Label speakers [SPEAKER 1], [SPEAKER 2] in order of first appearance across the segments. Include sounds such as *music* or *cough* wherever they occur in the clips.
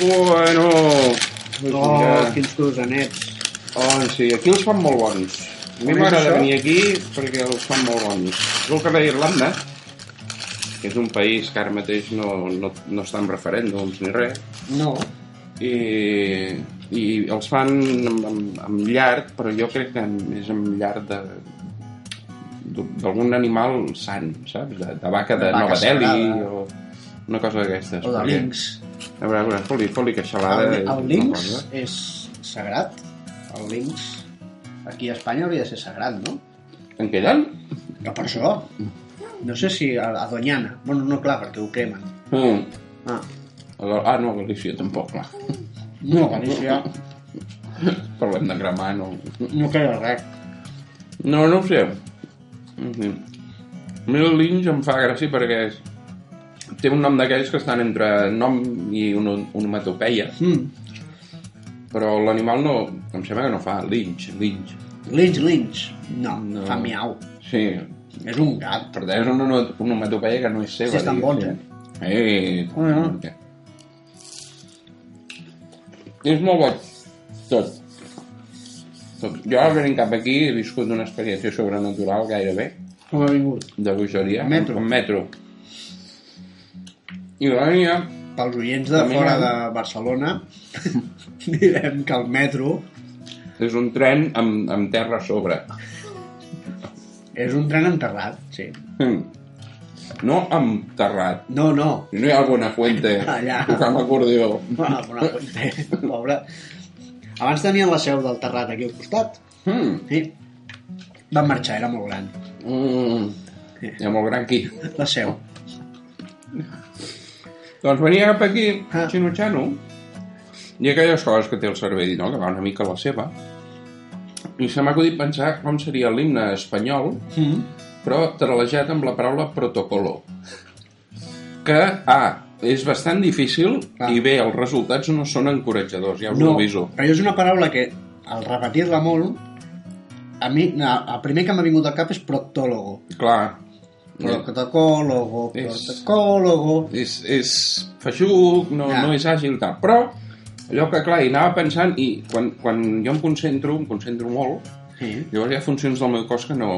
[SPEAKER 1] Bueno... doncs
[SPEAKER 2] Oh,
[SPEAKER 1] vinga.
[SPEAKER 2] quins cosanets.
[SPEAKER 1] Oh, sí, aquí els fan molt bons. A
[SPEAKER 2] Com
[SPEAKER 1] mi
[SPEAKER 2] és
[SPEAKER 1] m'agrada
[SPEAKER 2] això?
[SPEAKER 1] venir aquí perquè els fan molt bons. És el que deia Irlanda, que és un país que ara mateix no, no, no està en referèndums ni res,
[SPEAKER 2] No.
[SPEAKER 1] i, i els fan amb, amb, amb llard, però jo crec que amb- és amb llard de d'u- d'algun animal sant, saps? De, de vaca de
[SPEAKER 3] Vaca
[SPEAKER 1] Nova Delhi
[SPEAKER 3] sagrada.
[SPEAKER 1] o una cosa d'aquestes.
[SPEAKER 3] O de
[SPEAKER 1] perquè-
[SPEAKER 3] links.
[SPEAKER 1] A veure, a veure, foli, foli queixalada.
[SPEAKER 3] El, el links
[SPEAKER 1] No,
[SPEAKER 3] és sagrat. El links aquí a Espanya hauria de ser sagrat, no?
[SPEAKER 1] en què llard?
[SPEAKER 3] No per això. No sé si a, a Doñana. Bueno, no, clar, perquè ho cremen.
[SPEAKER 1] Mm.
[SPEAKER 3] Ah,
[SPEAKER 1] Ah, no, a Galícia tampoc, clar.
[SPEAKER 3] no, Galícia.
[SPEAKER 1] Parlem de cremar, no...
[SPEAKER 3] No queda res.
[SPEAKER 1] No, no ho sé. Mm En fi. A mi el linx em fa gràcia perquè és... té un nom d'aquells que estan entre nom i una onomatopeia,
[SPEAKER 3] Mm.
[SPEAKER 1] però l'animal no... em sembla que no fa linx, linx.
[SPEAKER 3] Lynch, Lynch. No,
[SPEAKER 1] No.
[SPEAKER 3] no, fa miau.
[SPEAKER 1] Sí,
[SPEAKER 3] És un gat.
[SPEAKER 1] per tant és una ono- onomatopeia que no és seva.
[SPEAKER 3] Sí, estan bons,
[SPEAKER 1] diguéssim. Eh,
[SPEAKER 3] Oh, no.
[SPEAKER 1] És molt boig, tot. tot. Jo ara venint cap aquí he viscut una experiència sobrenatural gairebé.
[SPEAKER 3] Com ha vingut?
[SPEAKER 1] de bruixeria.
[SPEAKER 3] Amb metro.
[SPEAKER 1] Amb metro. I va venir...
[SPEAKER 3] Pels oients de
[SPEAKER 1] També
[SPEAKER 3] fora
[SPEAKER 1] no.
[SPEAKER 3] de Barcelona, *laughs* direm que el metro
[SPEAKER 1] És un tren amb, amb terra a sobre.
[SPEAKER 3] és un tren enterrat, sí.
[SPEAKER 1] Mm. No amb terrat.
[SPEAKER 3] No, no,
[SPEAKER 1] No hi ha alguna fuente
[SPEAKER 3] *laughs* Allà.
[SPEAKER 1] tocant l'acordió.
[SPEAKER 3] Ah, bona fuente, pobre. Abans tenien la seu del terrat aquí al costat.
[SPEAKER 1] Mm.
[SPEAKER 3] Sí. Van marxar, era molt gran.
[SPEAKER 1] Mm. Hi ha molt gran aquí.
[SPEAKER 3] La seu.
[SPEAKER 1] Doncs venia cap aquí,
[SPEAKER 3] Ah.
[SPEAKER 1] xino-xano, i aquelles coses que té el cervell, no?, que va una mica a la seva, i se m'ha acudit pensar com seria l'himne espanyol
[SPEAKER 3] Mm.
[SPEAKER 1] però trelejat amb la paraula protocolo. Que A, és bastant difícil
[SPEAKER 3] Clar.
[SPEAKER 1] i B, els resultats no són encoratjadors, ja us no.
[SPEAKER 3] No,
[SPEAKER 1] ho aviso.
[SPEAKER 3] però és una paraula que, al repetir-la molt, a mi, na, el primer que m'ha vingut al cap és proctólogo.
[SPEAKER 1] Clar,
[SPEAKER 3] Proctocólogo,
[SPEAKER 1] És-
[SPEAKER 3] proctocólogo...
[SPEAKER 1] és, és feixuc, no,
[SPEAKER 3] Ja.
[SPEAKER 1] no és àgil, tal. Però allò que, clar, hi anava pensant i quan, quan jo em concentro, em concentro molt,
[SPEAKER 3] Sí.
[SPEAKER 1] llavors hi ha funcions del meu cos que no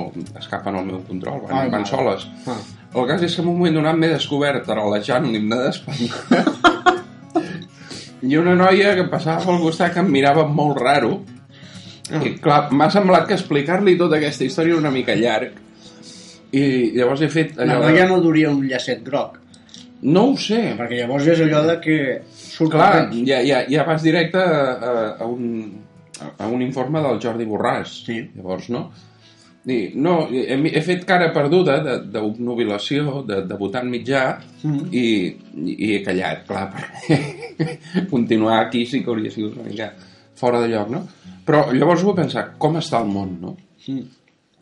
[SPEAKER 1] escapen al meu control, van,
[SPEAKER 3] Ai,
[SPEAKER 1] van
[SPEAKER 3] mare.
[SPEAKER 1] soles.
[SPEAKER 3] Ah.
[SPEAKER 1] El cas és que en un moment donat m'he descobert relajant l'himne d'Espanya. *laughs* I una noia que em passava pel costat que em mirava molt raro. I clar, m'ha semblat que explicar-li tota aquesta història era una mica llarg. I llavors he fet Ah,
[SPEAKER 3] La
[SPEAKER 1] allò...
[SPEAKER 3] noia
[SPEAKER 1] de-
[SPEAKER 3] no duria un llacet groc,
[SPEAKER 1] no ho sé.
[SPEAKER 3] perquè llavors és allò de que surt
[SPEAKER 1] Clar,
[SPEAKER 3] corrents.
[SPEAKER 1] ja, ja, ja vas directe a, a, a, un, a un informe del Jordi Borràs.
[SPEAKER 3] Sí.
[SPEAKER 1] Llavors, no? I, no, he, he fet cara perduda de- d'obnubilació, de, de votant mitjà,
[SPEAKER 3] Mhm.
[SPEAKER 1] i, i he callat, clar, perquè *laughs* continuar aquí sí que hauria sigut una mica fora de lloc, no? Però llavors ho he pensat, com està el món, no?
[SPEAKER 3] Mm.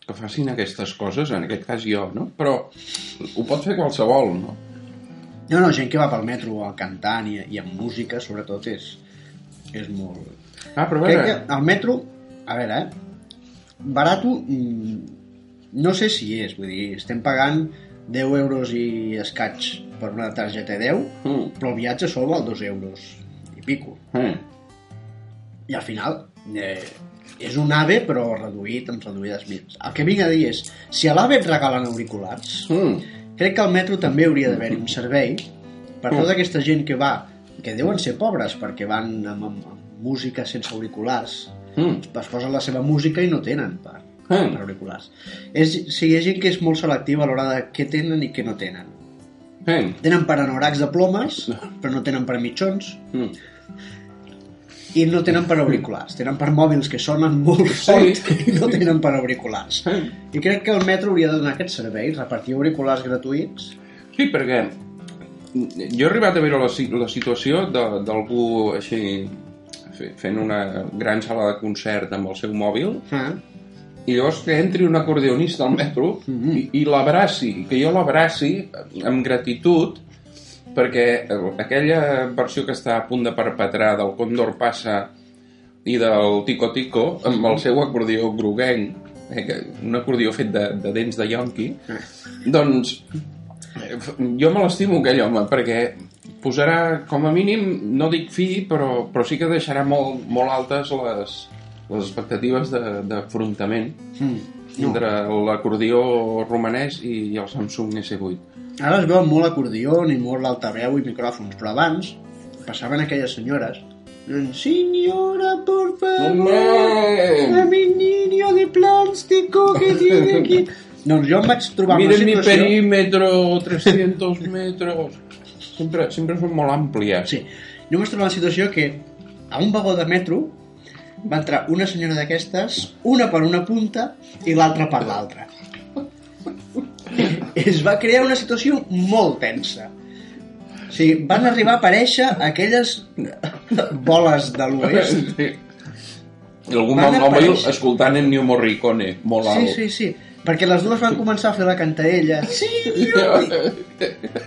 [SPEAKER 1] Que facin aquestes coses, en aquest cas jo, no? Però ho pot fer qualsevol, no?
[SPEAKER 3] No, no, gent que va pel metro a cantant i, i amb música, sobretot, és, és molt...
[SPEAKER 1] Ah, però a
[SPEAKER 3] Crec
[SPEAKER 1] veure...
[SPEAKER 3] que el metro, a veure, eh? Barato, mm, no sé si és, vull dir, estem pagant 10 euros i escaig per una targeta 10,
[SPEAKER 1] Mm,
[SPEAKER 3] però el viatge sol val 2 euros i pico.
[SPEAKER 1] mm.
[SPEAKER 3] I al final, eh, és un AVE, però reduït, amb reduïdes mils. El que vinc a dir és, si a l'AVE et regalen auriculars,
[SPEAKER 1] Mm.
[SPEAKER 3] Crec que al metro també hauria d'haver un servei per tota aquesta gent que va, que deuen ser pobres perquè van amb, amb, amb música sense auriculars,
[SPEAKER 1] Mm.
[SPEAKER 3] es posen la seva música i no tenen per,
[SPEAKER 1] Mm.
[SPEAKER 3] per auriculars. És, o sigui, hi ha gent que és molt selectiva a l'hora de què tenen i què no tenen.
[SPEAKER 1] Mm.
[SPEAKER 3] Tenen per anoraks de plomes, però no tenen per mitjons,
[SPEAKER 1] Mm.
[SPEAKER 3] i no tenen per auriculars. Tenen per mòbils que sonen molt fort i no tenen per auriculars.
[SPEAKER 1] Mm.
[SPEAKER 3] I crec que el metro hauria de donar aquest servei, repartir auriculars gratuïts.
[SPEAKER 1] Sí, perquè jo he arribat a veure la, si- la situació de- d'algú així fe- fent una gran sala de concert amb el seu mòbil
[SPEAKER 3] Eh?
[SPEAKER 1] i llavors que entri un acordeonista al metro i, i l'abraci, que jo l'abraci amb gratitud perquè eh, aquella versió que està a punt de perpetrar del Condor Passa i del Tico Tico amb el seu acordió groguenc eh, que- un acordió fet de, de dents de yonqui doncs eh, f- jo me l'estimo aquell home perquè posarà, com a mínim, no dic fi, però, però sí que deixarà molt, molt altes les, les expectatives de- d'afrontament
[SPEAKER 3] Hmm.
[SPEAKER 1] entre l'acordió romanès i el Samsung S8.
[SPEAKER 3] Ara es veuen molt acordió, ni molt l'altaveu i micròfons, però abans passaven aquelles senyores dient, senyora, por favor, a mi niño de plástico que tiene
[SPEAKER 1] *laughs*
[SPEAKER 3] aquí. Doncs jo em vaig trobar en una
[SPEAKER 1] Miren mi
[SPEAKER 3] situació...
[SPEAKER 1] perímetro, 300 *laughs* metros... Sempre, sempre són molt àmplies.
[SPEAKER 3] Sí. Jo em vaig trobar en una situació que a un vagó de metro va entrar una senyora d'aquestes, una per una punta i l'altra per l'altra. *laughs* Es va crear una situació molt tensa. O sigui, van arribar a aparèixer aquelles boles de
[SPEAKER 1] *laughs*
[SPEAKER 3] l'oest.
[SPEAKER 1] I algun
[SPEAKER 3] Van
[SPEAKER 1] bon home
[SPEAKER 3] aparèixer.
[SPEAKER 1] escoltant en New Morricone, molt
[SPEAKER 3] Sí,
[SPEAKER 1] alt.
[SPEAKER 3] sí, sí. Perquè les dues van començar a fer la cantarella. Sí,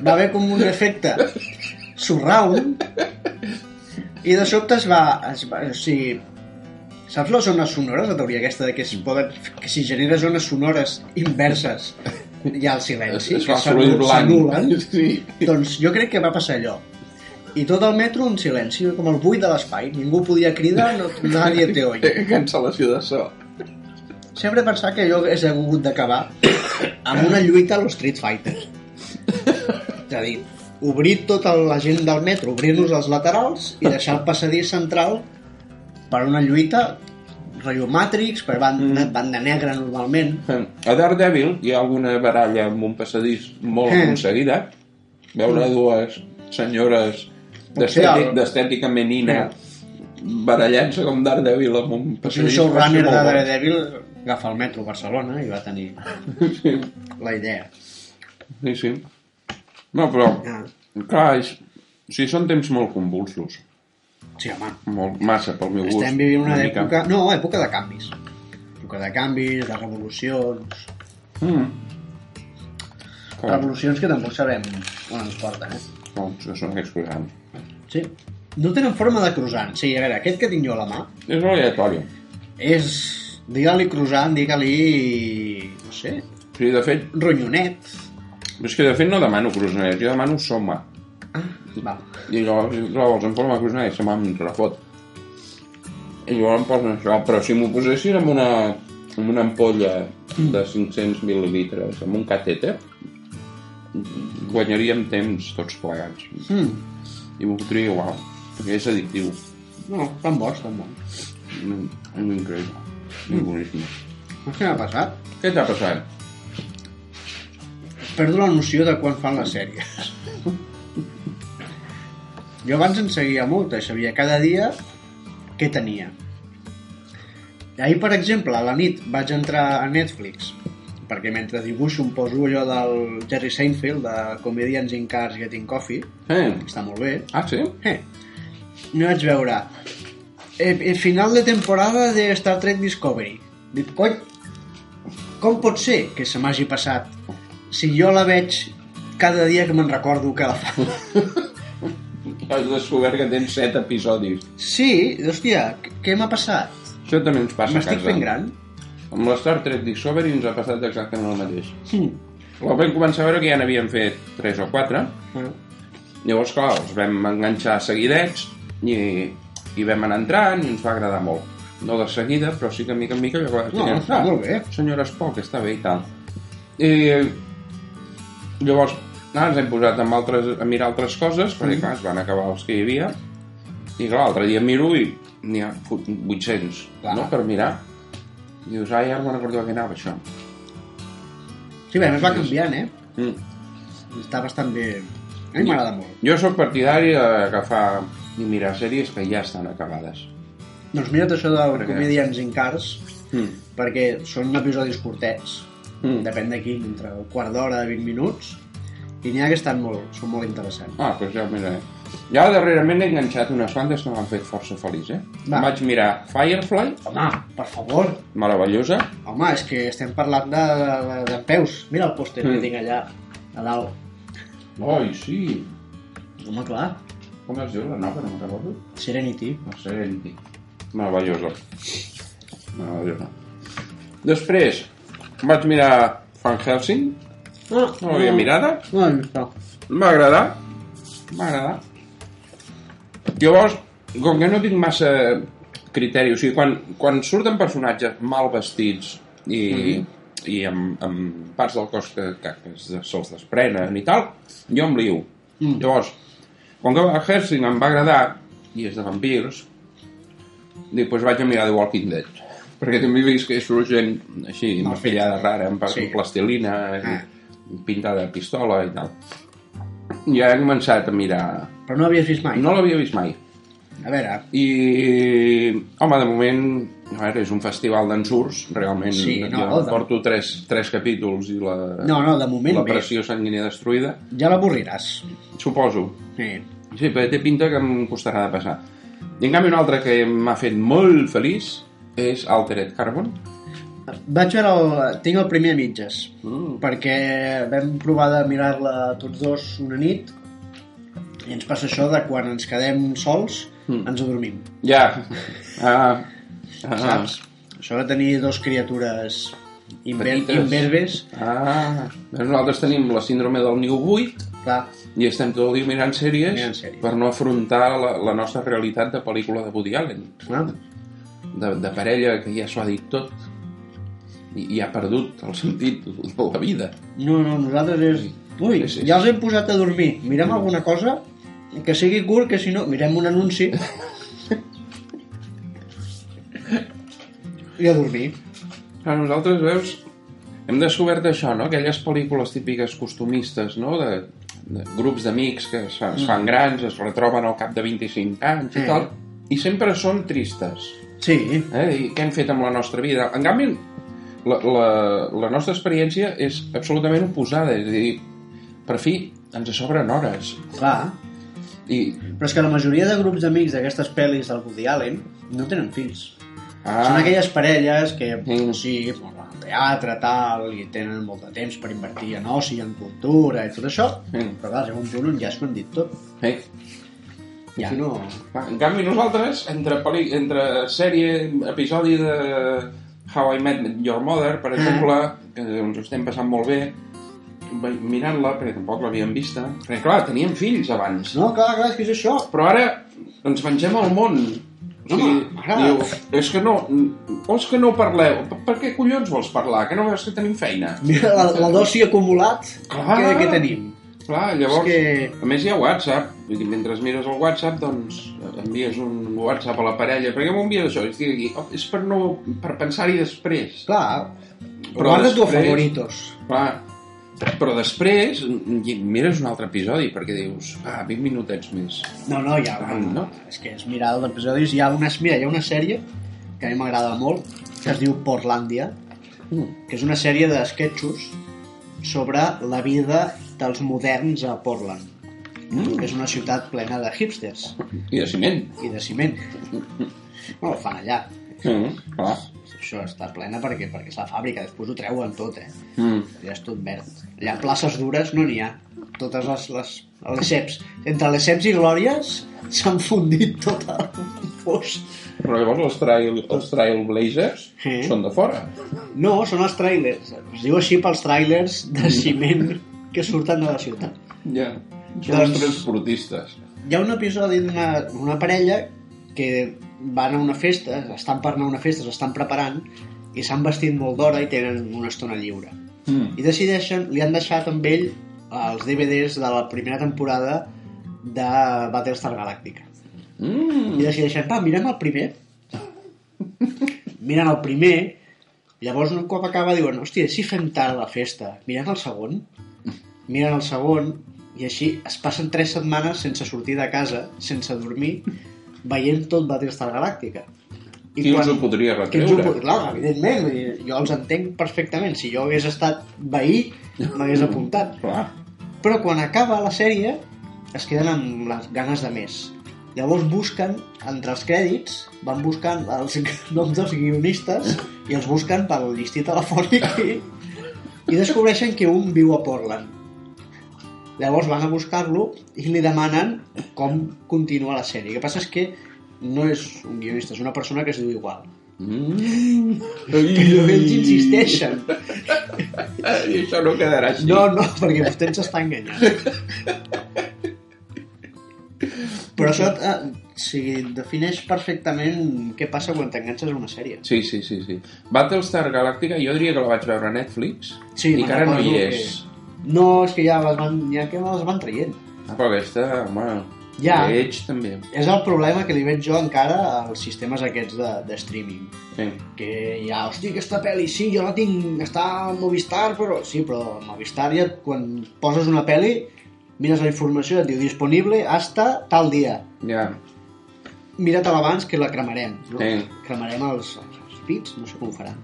[SPEAKER 3] va haver com un efecte surround i de sobte es va, es va o sigui, saps les zones sonores la teoria aquesta de que, es poden, que si genera zones sonores inverses hi ha el
[SPEAKER 1] Es,
[SPEAKER 3] silenci
[SPEAKER 1] es
[SPEAKER 3] que
[SPEAKER 1] fa
[SPEAKER 3] s'anul-
[SPEAKER 1] soroll blanc.
[SPEAKER 3] s'anul·len.
[SPEAKER 1] Sí.
[SPEAKER 3] doncs jo crec que va passar allò i tot el metro en silenci com el buit de l'espai ningú podia cridar no, nadie te oye
[SPEAKER 1] *laughs* Cancel·lació de so.
[SPEAKER 3] sempre pensar que allò és hagut d'acabar amb una lluita a los Street Fighters és a dir obrir tota la gent del metro obrir-nos els laterals i deixar el passadís central per una lluita rotllo Matrix per
[SPEAKER 1] Mm.
[SPEAKER 3] banda, banda negra normalment
[SPEAKER 1] *laughs* A Daredevil hi ha alguna baralla amb un passadís molt
[SPEAKER 3] Mm.
[SPEAKER 1] aconseguida. Veure dues senyores
[SPEAKER 3] Potser
[SPEAKER 1] d'estèti-
[SPEAKER 3] el-
[SPEAKER 1] d'estètica menina barallant-se com Daredevil amb un
[SPEAKER 3] si el
[SPEAKER 1] passadís. va ser
[SPEAKER 3] showrunner
[SPEAKER 1] molt
[SPEAKER 3] de
[SPEAKER 1] bo.
[SPEAKER 3] Daredevil agafa el metro a Barcelona i va tenir la idea
[SPEAKER 1] Sí, sí. No, però,
[SPEAKER 3] Ah,
[SPEAKER 1] clar, és... sí, són temps molt convulsos.
[SPEAKER 3] sí home
[SPEAKER 1] Molt, massa, pel meu gust.
[SPEAKER 3] estem vivint una,
[SPEAKER 1] mica.
[SPEAKER 3] època no, època de canvis època de canvis, de revolucions
[SPEAKER 1] Mm. Com,
[SPEAKER 3] revolucions que tampoc sabem on ens porten, eh?
[SPEAKER 1] com, que doncs, són aquests croissants.
[SPEAKER 3] Sí. No tenen forma de croissant. Sí, a veure, aquest que tinc jo a la mà
[SPEAKER 1] És aleatori.
[SPEAKER 3] és... Digue-li croissant, digue-li... No sé,
[SPEAKER 1] Sí, de fet,
[SPEAKER 3] ronyonet.
[SPEAKER 1] és que de fet no demano croissants, jo demano soma.
[SPEAKER 3] Va.
[SPEAKER 1] I llavors, llavors em forma croissant i se me'n refot. I llavors em posen això, però si m'ho posessin amb una, amb una ampolla de 500 mil·lilitres, amb un catèter, guanyaríem temps tots plegats.
[SPEAKER 3] Mm.
[SPEAKER 1] I m'ho fotria igual, perquè és addictiu.
[SPEAKER 3] No, tan bons, tan bons.
[SPEAKER 1] Mm, És increïble. És boníssim.
[SPEAKER 3] Saps què m'ha passat?
[SPEAKER 1] Què t'ha passat?
[SPEAKER 3] Perdo la noció de quan fan les sèries. Jo abans en seguia moltes, sabia cada dia què tenia. Ahir, per exemple, a la nit vaig entrar a Netflix perquè mentre dibuixo em poso allò del Jerry Seinfeld de Comedians in Cars Getting Coffee
[SPEAKER 1] Eh?
[SPEAKER 3] que està molt bé
[SPEAKER 1] Ah, sí?
[SPEAKER 3] eh, no vaig veure eh, eh, final de temporada de Star Trek Discovery dic, cony com pot ser que se m'hagi passat si jo la veig cada dia que me'n recordo que la *laughs* fa
[SPEAKER 1] Has descobert que tens set episodis.
[SPEAKER 3] sí, hòstia, què m'ha passat?
[SPEAKER 1] Això també ens passa a
[SPEAKER 3] m'estic
[SPEAKER 1] casa.
[SPEAKER 3] fent gran?
[SPEAKER 1] Amb la Star Trek Discovery ens ha passat exactament el mateix.
[SPEAKER 3] Hm.
[SPEAKER 1] La vam començar a veure que ja n'havíem fet 3 o 4.
[SPEAKER 3] Ah.
[SPEAKER 1] Llavors, clar, els vam enganxar seguidets i, i vam anar entrant i ens va agradar molt. No de seguida, però sí que de mica en mica... Jo,
[SPEAKER 3] no, està molt bé
[SPEAKER 1] Senyora Spock, està bé i tal. I llavors, ah, ens hem posat amb altres, a mirar altres coses,
[SPEAKER 3] Mm-hmm.
[SPEAKER 1] perquè clar, es van acabar els que hi havia, i clar, l'altre dia miro i n'hi ha fot- 800,
[SPEAKER 3] Clar.
[SPEAKER 1] no?, per mirar. I dius, ai, ara me'n recordo de què anava això.
[SPEAKER 3] sí, bé, a més va canviant, eh?
[SPEAKER 1] Mm.
[SPEAKER 3] està bastant bé a mi m'agrada molt
[SPEAKER 1] Jo sóc partidari d'agafar i mirar sèries que ja estan acabades.
[SPEAKER 3] doncs mira't això del
[SPEAKER 1] Per què?
[SPEAKER 3] Comedians in Cars
[SPEAKER 1] Mm.
[SPEAKER 3] perquè són episodis curtets
[SPEAKER 1] Mm.
[SPEAKER 3] depèn de quin, entre un quart d'hora i 20 minuts, i n'hi ha que estan molt, són molt interessants.
[SPEAKER 1] Ah, doncs ja, mira, ja darrerament he enganxat unes quantes que m'han fet força feliç, eh?
[SPEAKER 3] Va.
[SPEAKER 1] Vaig mirar Firefly,
[SPEAKER 3] Home, Ah, per favor!
[SPEAKER 1] meravellosa,
[SPEAKER 3] Home, és que estem parlant de, de, de peus. Mira el pòster
[SPEAKER 1] Mm.
[SPEAKER 3] que tinc allà, a dalt.
[SPEAKER 1] Ai, sí.
[SPEAKER 3] Home, clar,
[SPEAKER 1] Com es diu la nova, no me'n recordo?
[SPEAKER 3] Serenity.
[SPEAKER 1] La Serenity. Meravellosa. Meravellosa. Després, vaig mirar Van Helsing,
[SPEAKER 3] No,
[SPEAKER 1] Ah, no l'havia mirada,
[SPEAKER 3] No l'he vist, no.
[SPEAKER 1] em va agradar, em va agradar. Llavors, com que no tinc massa criteri, o sigui, quan, quan surten personatges mal vestits i, i amb, amb parts del cos que, que, que es- se'ls desprenen i tal, jo em liu. Llavors, com que Van Helsing em va agradar, i és de vampirs, dic, doncs vaig a mirar The Walking Dead. *laughs* Perquè també he vist que surt gent així,
[SPEAKER 3] Mal
[SPEAKER 1] maquillada eh, rara, amb
[SPEAKER 3] Sí.
[SPEAKER 1] sí. plastilina,
[SPEAKER 3] Ah.
[SPEAKER 1] i pintada de pistola i tal. Ja he començat a mirar...
[SPEAKER 3] Però no havies vist mai.
[SPEAKER 1] No l'havia vist mai.
[SPEAKER 3] A veure,
[SPEAKER 1] I, home, de moment, a veure, és un festival d'ensurs, realment.
[SPEAKER 3] Sí, no,
[SPEAKER 1] jo
[SPEAKER 3] de-
[SPEAKER 1] porto tres, tres capítols i la,
[SPEAKER 3] no, no, de moment
[SPEAKER 1] la
[SPEAKER 3] bé.
[SPEAKER 1] pressió sanguínia destruïda,
[SPEAKER 3] Ja l'avorriràs.
[SPEAKER 1] suposo.
[SPEAKER 3] Eh.
[SPEAKER 1] Sí, perquè té pinta que em costarà de passar. I en canvi, un altre que m'ha fet molt feliç és Altered Carbon.
[SPEAKER 3] Vaig veure el... Tinc el primer a mitges.
[SPEAKER 1] Mm.
[SPEAKER 3] Perquè vam provar de mirar-la tots dos una nit i ens passa això de quan ens quedem sols
[SPEAKER 1] Mm.
[SPEAKER 3] ens adormim, *laughs*
[SPEAKER 1] Ja. Ah, ah,
[SPEAKER 3] saps? Això de tenir dos criatures inver
[SPEAKER 1] Petites.
[SPEAKER 3] inverbes,
[SPEAKER 1] Ah, Doncs nosaltres tenim la síndrome del New 8
[SPEAKER 3] clar,
[SPEAKER 1] i estem tot el dia mirant sèries,
[SPEAKER 3] Mirant sèries.
[SPEAKER 1] per no afrontar la, la nostra realitat de pel·lícula de Woody Allen.
[SPEAKER 3] clar.
[SPEAKER 1] de, de parella que ja s'ho ha dit tot i, i ha perdut el sentit de la vida.
[SPEAKER 3] No, no, nosaltres és... Ui,
[SPEAKER 1] Sí, sí. Mm.
[SPEAKER 3] ja els hem posat a dormir. Mirem alguna cosa que sigui curt, que si no, mirem un
[SPEAKER 1] *laughs*
[SPEAKER 3] anunci. I a dormir.
[SPEAKER 1] Clar, nosaltres, veus, hem descobert això, no? Aquelles pel·lícules típiques costumistes, no? De, de grups d'amics que es, fan- es
[SPEAKER 3] Mm.
[SPEAKER 1] fan grans, es retroben al cap de 25 anys
[SPEAKER 3] Eh.
[SPEAKER 1] i tal, i sempre són tristes.
[SPEAKER 3] Sí,
[SPEAKER 1] Eh? I què hem fet amb la nostra vida? En canvi, la, la, la nostra experiència és absolutament oposada, és a dir, per fi ens sobren hores.
[SPEAKER 3] clar.
[SPEAKER 1] I,
[SPEAKER 3] Però és que la majoria de grups d'amics d'aquestes pel·lis del Woody Allen no tenen fills. Ah. Són aquelles parelles que,
[SPEAKER 1] Mm.
[SPEAKER 3] sí, van al teatre, tal, i tenen molt de temps per invertir en oci, en cultura i tot això,
[SPEAKER 1] Mm.
[SPEAKER 3] però clar, llega un punt on ja s'ho han dit tot.
[SPEAKER 1] Eh?
[SPEAKER 3] Ja no...
[SPEAKER 1] Va, En canvi, nosaltres, entre, peli... entre sèrie, episodi de How I Met Your Mother,
[SPEAKER 3] Mm.
[SPEAKER 1] per exemple, que ens ho estem passant molt bé, ve- mirant-la, perquè tampoc l'havíem vista, perquè, clar, teníem fills abans.
[SPEAKER 3] No, clar, clar, és que és això.
[SPEAKER 1] Però ara ens mengem el món. O sigui,
[SPEAKER 3] Home, ara-
[SPEAKER 1] diu, és que no, o és que no parleu. Per- Per què collons vols parlar? Que no veus que tenim feina?
[SPEAKER 3] Mira, la, la dosi acumulat
[SPEAKER 1] Clar.
[SPEAKER 3] que, que tenim.
[SPEAKER 1] Clar, llavors...
[SPEAKER 3] És
[SPEAKER 1] A més, hi ha WhatsApp. Vull dir, mentre mires el WhatsApp, doncs, envies un WhatsApp a la parella. Per què m'envies això? I Estic aquí. Oh, és per, no, per pensar-hi després.
[SPEAKER 3] que, clar, però guarda tu a favoritos.
[SPEAKER 1] Clar. Però després i mires un altre episodi, perquè dius, ah, 20 minutets més.
[SPEAKER 3] No, no, ja,
[SPEAKER 1] Ah,
[SPEAKER 3] no.
[SPEAKER 1] no?
[SPEAKER 3] és que és mirar els episodis. Hi ha una, mira, hi ha una sèrie que a mi m'agrada molt, que es diu Portlandia,
[SPEAKER 1] Mm.
[SPEAKER 3] que és una sèrie de sketchos sobre la vida dels moderns a Portland.
[SPEAKER 1] Mm.
[SPEAKER 3] que és una ciutat plena de hipsters
[SPEAKER 1] I de ciment.
[SPEAKER 3] i de ciment. No, ho fan allà.
[SPEAKER 1] Mm, clar.
[SPEAKER 3] Això està plena perquè, perquè és la fàbrica, després ho treuen tot, eh?
[SPEAKER 1] Mm.
[SPEAKER 3] Ja és tot verd. Allà places dures no n'hi ha. Totes les, les, les ceps. Entre les ceps i glòries s'han fundit tot el fos.
[SPEAKER 1] Però llavors els, trail, els Trailblazers
[SPEAKER 3] Oh. Sí.
[SPEAKER 1] són de fora.
[SPEAKER 3] No, són els trailers. Es diu així pels trailers de ciment que surten de la ciutat.
[SPEAKER 1] Ja. Són
[SPEAKER 3] Doncs-
[SPEAKER 1] els transportistes.
[SPEAKER 3] Hi ha un episodi d'una una parella que van a una festa, estan per anar a una festa, s'estan preparant i s'han vestit molt d'hora i tenen una estona lliure.
[SPEAKER 1] Mm.
[SPEAKER 3] i decideixen, li han deixat amb ell eh, els DVDs de la primera temporada de Battlestar Galàctica. I
[SPEAKER 1] Mm.
[SPEAKER 3] decideixen, va, mirem el primer. Miren el primer, llavors un cop acaba diuen, hòstia, si fem tard la festa, mirem el segon. Miren el segon, i així es passen tres setmanes sense sortir de casa, sense dormir, veient tot Battlestar Galàctica.
[SPEAKER 1] Qui us ho podria
[SPEAKER 3] Que ens ho pot...
[SPEAKER 1] retreure?
[SPEAKER 3] Clar, evidentment, vull dir, jo els entenc perfectament. Si jo hagués estat veí, m'hagués apuntat.
[SPEAKER 1] Clar.
[SPEAKER 3] Però quan acaba la sèrie, es queden amb les ganes de més. Llavors busquen, entre els crèdits, van buscant els *laughs* noms dels guionistes i els busquen pel llistí telefònic i, i descobreixen que un viu a Portland. Llavors van a buscar-lo i li demanen com continua la sèrie. El que passa és que no és un guionista, és una persona que es diu igual.
[SPEAKER 1] Mm.
[SPEAKER 3] Però ells insisteixen.
[SPEAKER 1] I això no quedarà així.
[SPEAKER 3] No, no, perquè vostè ens està enganyant. Però això eh, sí, defineix perfectament què passa quan t'enganxes a una sèrie.
[SPEAKER 1] Sí, sí, sí, sí. Battlestar Galàctica jo diria que la vaig veure a Netflix
[SPEAKER 3] Sí,
[SPEAKER 1] i
[SPEAKER 3] me'n
[SPEAKER 1] que ara no hi
[SPEAKER 3] recordo
[SPEAKER 1] és.
[SPEAKER 3] No, és que ja les van, ja que les van traient.
[SPEAKER 1] Ah, però aquesta, home, ja.
[SPEAKER 3] Ja.
[SPEAKER 1] lleig també.
[SPEAKER 3] És el problema que li veig jo encara als sistemes aquests de, de streaming.
[SPEAKER 1] Sí.
[SPEAKER 3] que ja, hòstia, aquesta pel·li, sí, jo la tinc, està al Movistar, però... Sí, però al Movistar ja, quan poses una pel·li, mires la informació, et diu disponible hasta tal dia.
[SPEAKER 1] Ja,
[SPEAKER 3] Mira-te-la abans que la cremarem. No?
[SPEAKER 1] Sí.
[SPEAKER 3] Cremarem els, els feeds, no sé com ho faran.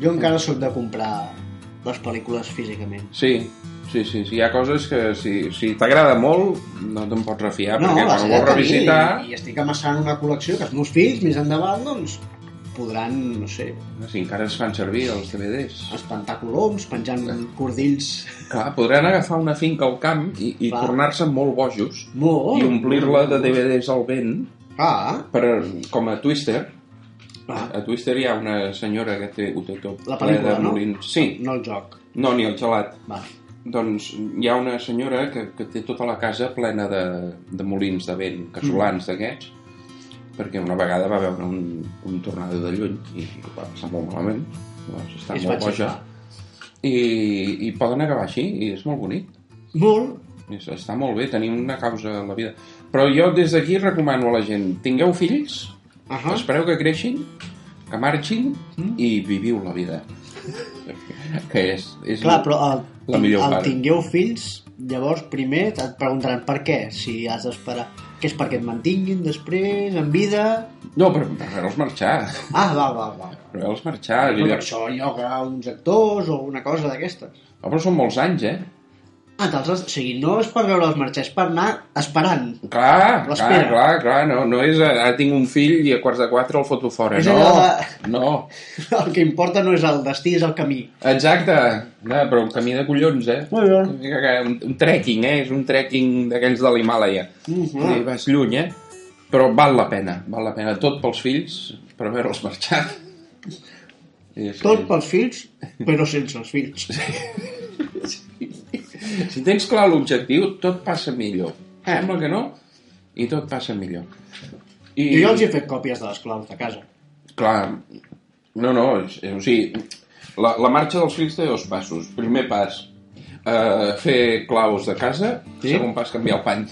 [SPEAKER 3] Jo encara sóc de comprar les pel·lícules físicament.
[SPEAKER 1] sí, sí, sí, sí. Hi ha coses que si, si t'agrada molt no te'n pots refiar, perquè
[SPEAKER 3] les
[SPEAKER 1] quan ho vols
[SPEAKER 3] he de tenir,
[SPEAKER 1] revisitar...
[SPEAKER 3] I, I estic amassant una col·lecció que els meus fills, més endavant, doncs, podran, no sé,
[SPEAKER 1] Si encara es fan servir els DVDs.
[SPEAKER 3] espantar coloms, penjant cordills...
[SPEAKER 1] Clar, podran agafar una finca al camp i, i
[SPEAKER 3] Clar. Oh.
[SPEAKER 1] tornar-se molt bojos
[SPEAKER 3] Molt.
[SPEAKER 1] i omplir-la de DVDs al vent
[SPEAKER 3] Ah,
[SPEAKER 1] per, com a Twister.
[SPEAKER 3] ah,
[SPEAKER 1] A Twister hi ha una senyora que té, ho té tot
[SPEAKER 3] La
[SPEAKER 1] ple
[SPEAKER 3] pel·lícula,
[SPEAKER 1] de
[SPEAKER 3] no?
[SPEAKER 1] molins. Sí,
[SPEAKER 3] no el joc.
[SPEAKER 1] no, ni el gelat.
[SPEAKER 3] Va.
[SPEAKER 1] Doncs hi ha una senyora que, que té tota la casa plena de, de molins de vent, casolans
[SPEAKER 3] Mm.
[SPEAKER 1] d'aquests, perquè una vegada va veure un, un tornado de lluny i ho va passar molt malament. Doncs està
[SPEAKER 3] I es va
[SPEAKER 1] molt boja.
[SPEAKER 3] aixecar.
[SPEAKER 1] I, I poden acabar així, i és molt bonic.
[SPEAKER 3] Molt.
[SPEAKER 1] És- Està molt bé, tenir una causa a la vida. Però jo des d'aquí recomano a la gent, tingueu fills, ah.
[SPEAKER 3] Uh -huh.
[SPEAKER 1] espereu que creixin, que marxin
[SPEAKER 3] Mm.
[SPEAKER 1] i viviu la vida. que és... és
[SPEAKER 3] Clar, però el,
[SPEAKER 1] La millor
[SPEAKER 3] el
[SPEAKER 1] part.
[SPEAKER 3] tingueu fills, llavors primer et preguntaran per què, si has d'esperar. Que és perquè et mantinguin després, en vida...
[SPEAKER 1] No, però, però veure-los marxar.
[SPEAKER 3] Ah, val, val, val.
[SPEAKER 1] Per veure-los marxar.
[SPEAKER 3] No,
[SPEAKER 1] No,
[SPEAKER 3] per això lloga uns actors o una cosa d'aquestes.
[SPEAKER 1] però són molts anys, eh?
[SPEAKER 3] Ah, te'ls has... O sigui, no és per veure els marxar, és per anar esperant. *laughs*
[SPEAKER 1] Clar, clar,
[SPEAKER 3] L'espera.
[SPEAKER 1] clar, clar, no, no és... Ara tinc un fill i a quarts de quatre el foto fora.
[SPEAKER 3] És
[SPEAKER 1] no,
[SPEAKER 3] allò
[SPEAKER 1] no.
[SPEAKER 3] El que importa no és el destí, és el camí.
[SPEAKER 1] Exacte. No, però un camí de collons, eh?
[SPEAKER 3] Molt bé.
[SPEAKER 1] Una mica que- Un, un trekking, eh? És un trekking d'aquells de l'Himàlaia.
[SPEAKER 3] Uh
[SPEAKER 1] Ah.
[SPEAKER 3] -huh.
[SPEAKER 1] Vas lluny, eh? Però val la pena, val la pena. Tot pels fills, per veure'ls
[SPEAKER 3] *laughs*
[SPEAKER 1] marxar. És,
[SPEAKER 3] Tot pels fills, però sense els fills.
[SPEAKER 1] Si tens clar l'objectiu, tot passa millor. Eh. Sembla que no, i tot passa millor. I,
[SPEAKER 3] Jo ja els he fet còpies de les claus de casa.
[SPEAKER 1] Clar, no, no, és, és, o sigui, la, la marxa dels fills té dos passos. Primer pas, eh, fer claus de casa, sí?
[SPEAKER 3] Sí.
[SPEAKER 1] segon pas, canviar el pany.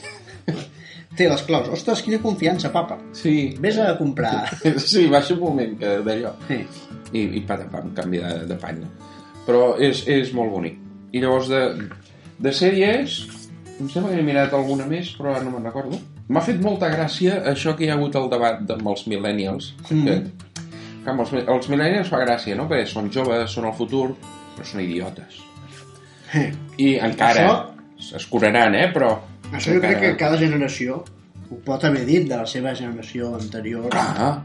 [SPEAKER 1] *laughs*
[SPEAKER 3] Té les claus. Ostres, quina confiança, papa.
[SPEAKER 1] Sí,
[SPEAKER 3] Vés a comprar.
[SPEAKER 1] sí va ser un moment que d'allò...
[SPEAKER 3] Sí.
[SPEAKER 1] i, i patapam, canvi de, de pany. Però és, és molt bonic. I llavors, de, de sèries, em sembla que he mirat alguna més, però ara no me'n recordo. M'ha fet molta gràcia això que hi ha hagut el debat amb els millennials. Mm. Que, que amb els, mi- els millennials fa gràcia, no? Perquè són joves, són el futur, però són idiotes. I encara
[SPEAKER 3] Això-
[SPEAKER 1] s- es curaran, eh? Però...
[SPEAKER 3] Això jo crec
[SPEAKER 1] encara-
[SPEAKER 3] que cada generació ho pot haver dit de la seva generació anterior.
[SPEAKER 1] Ah,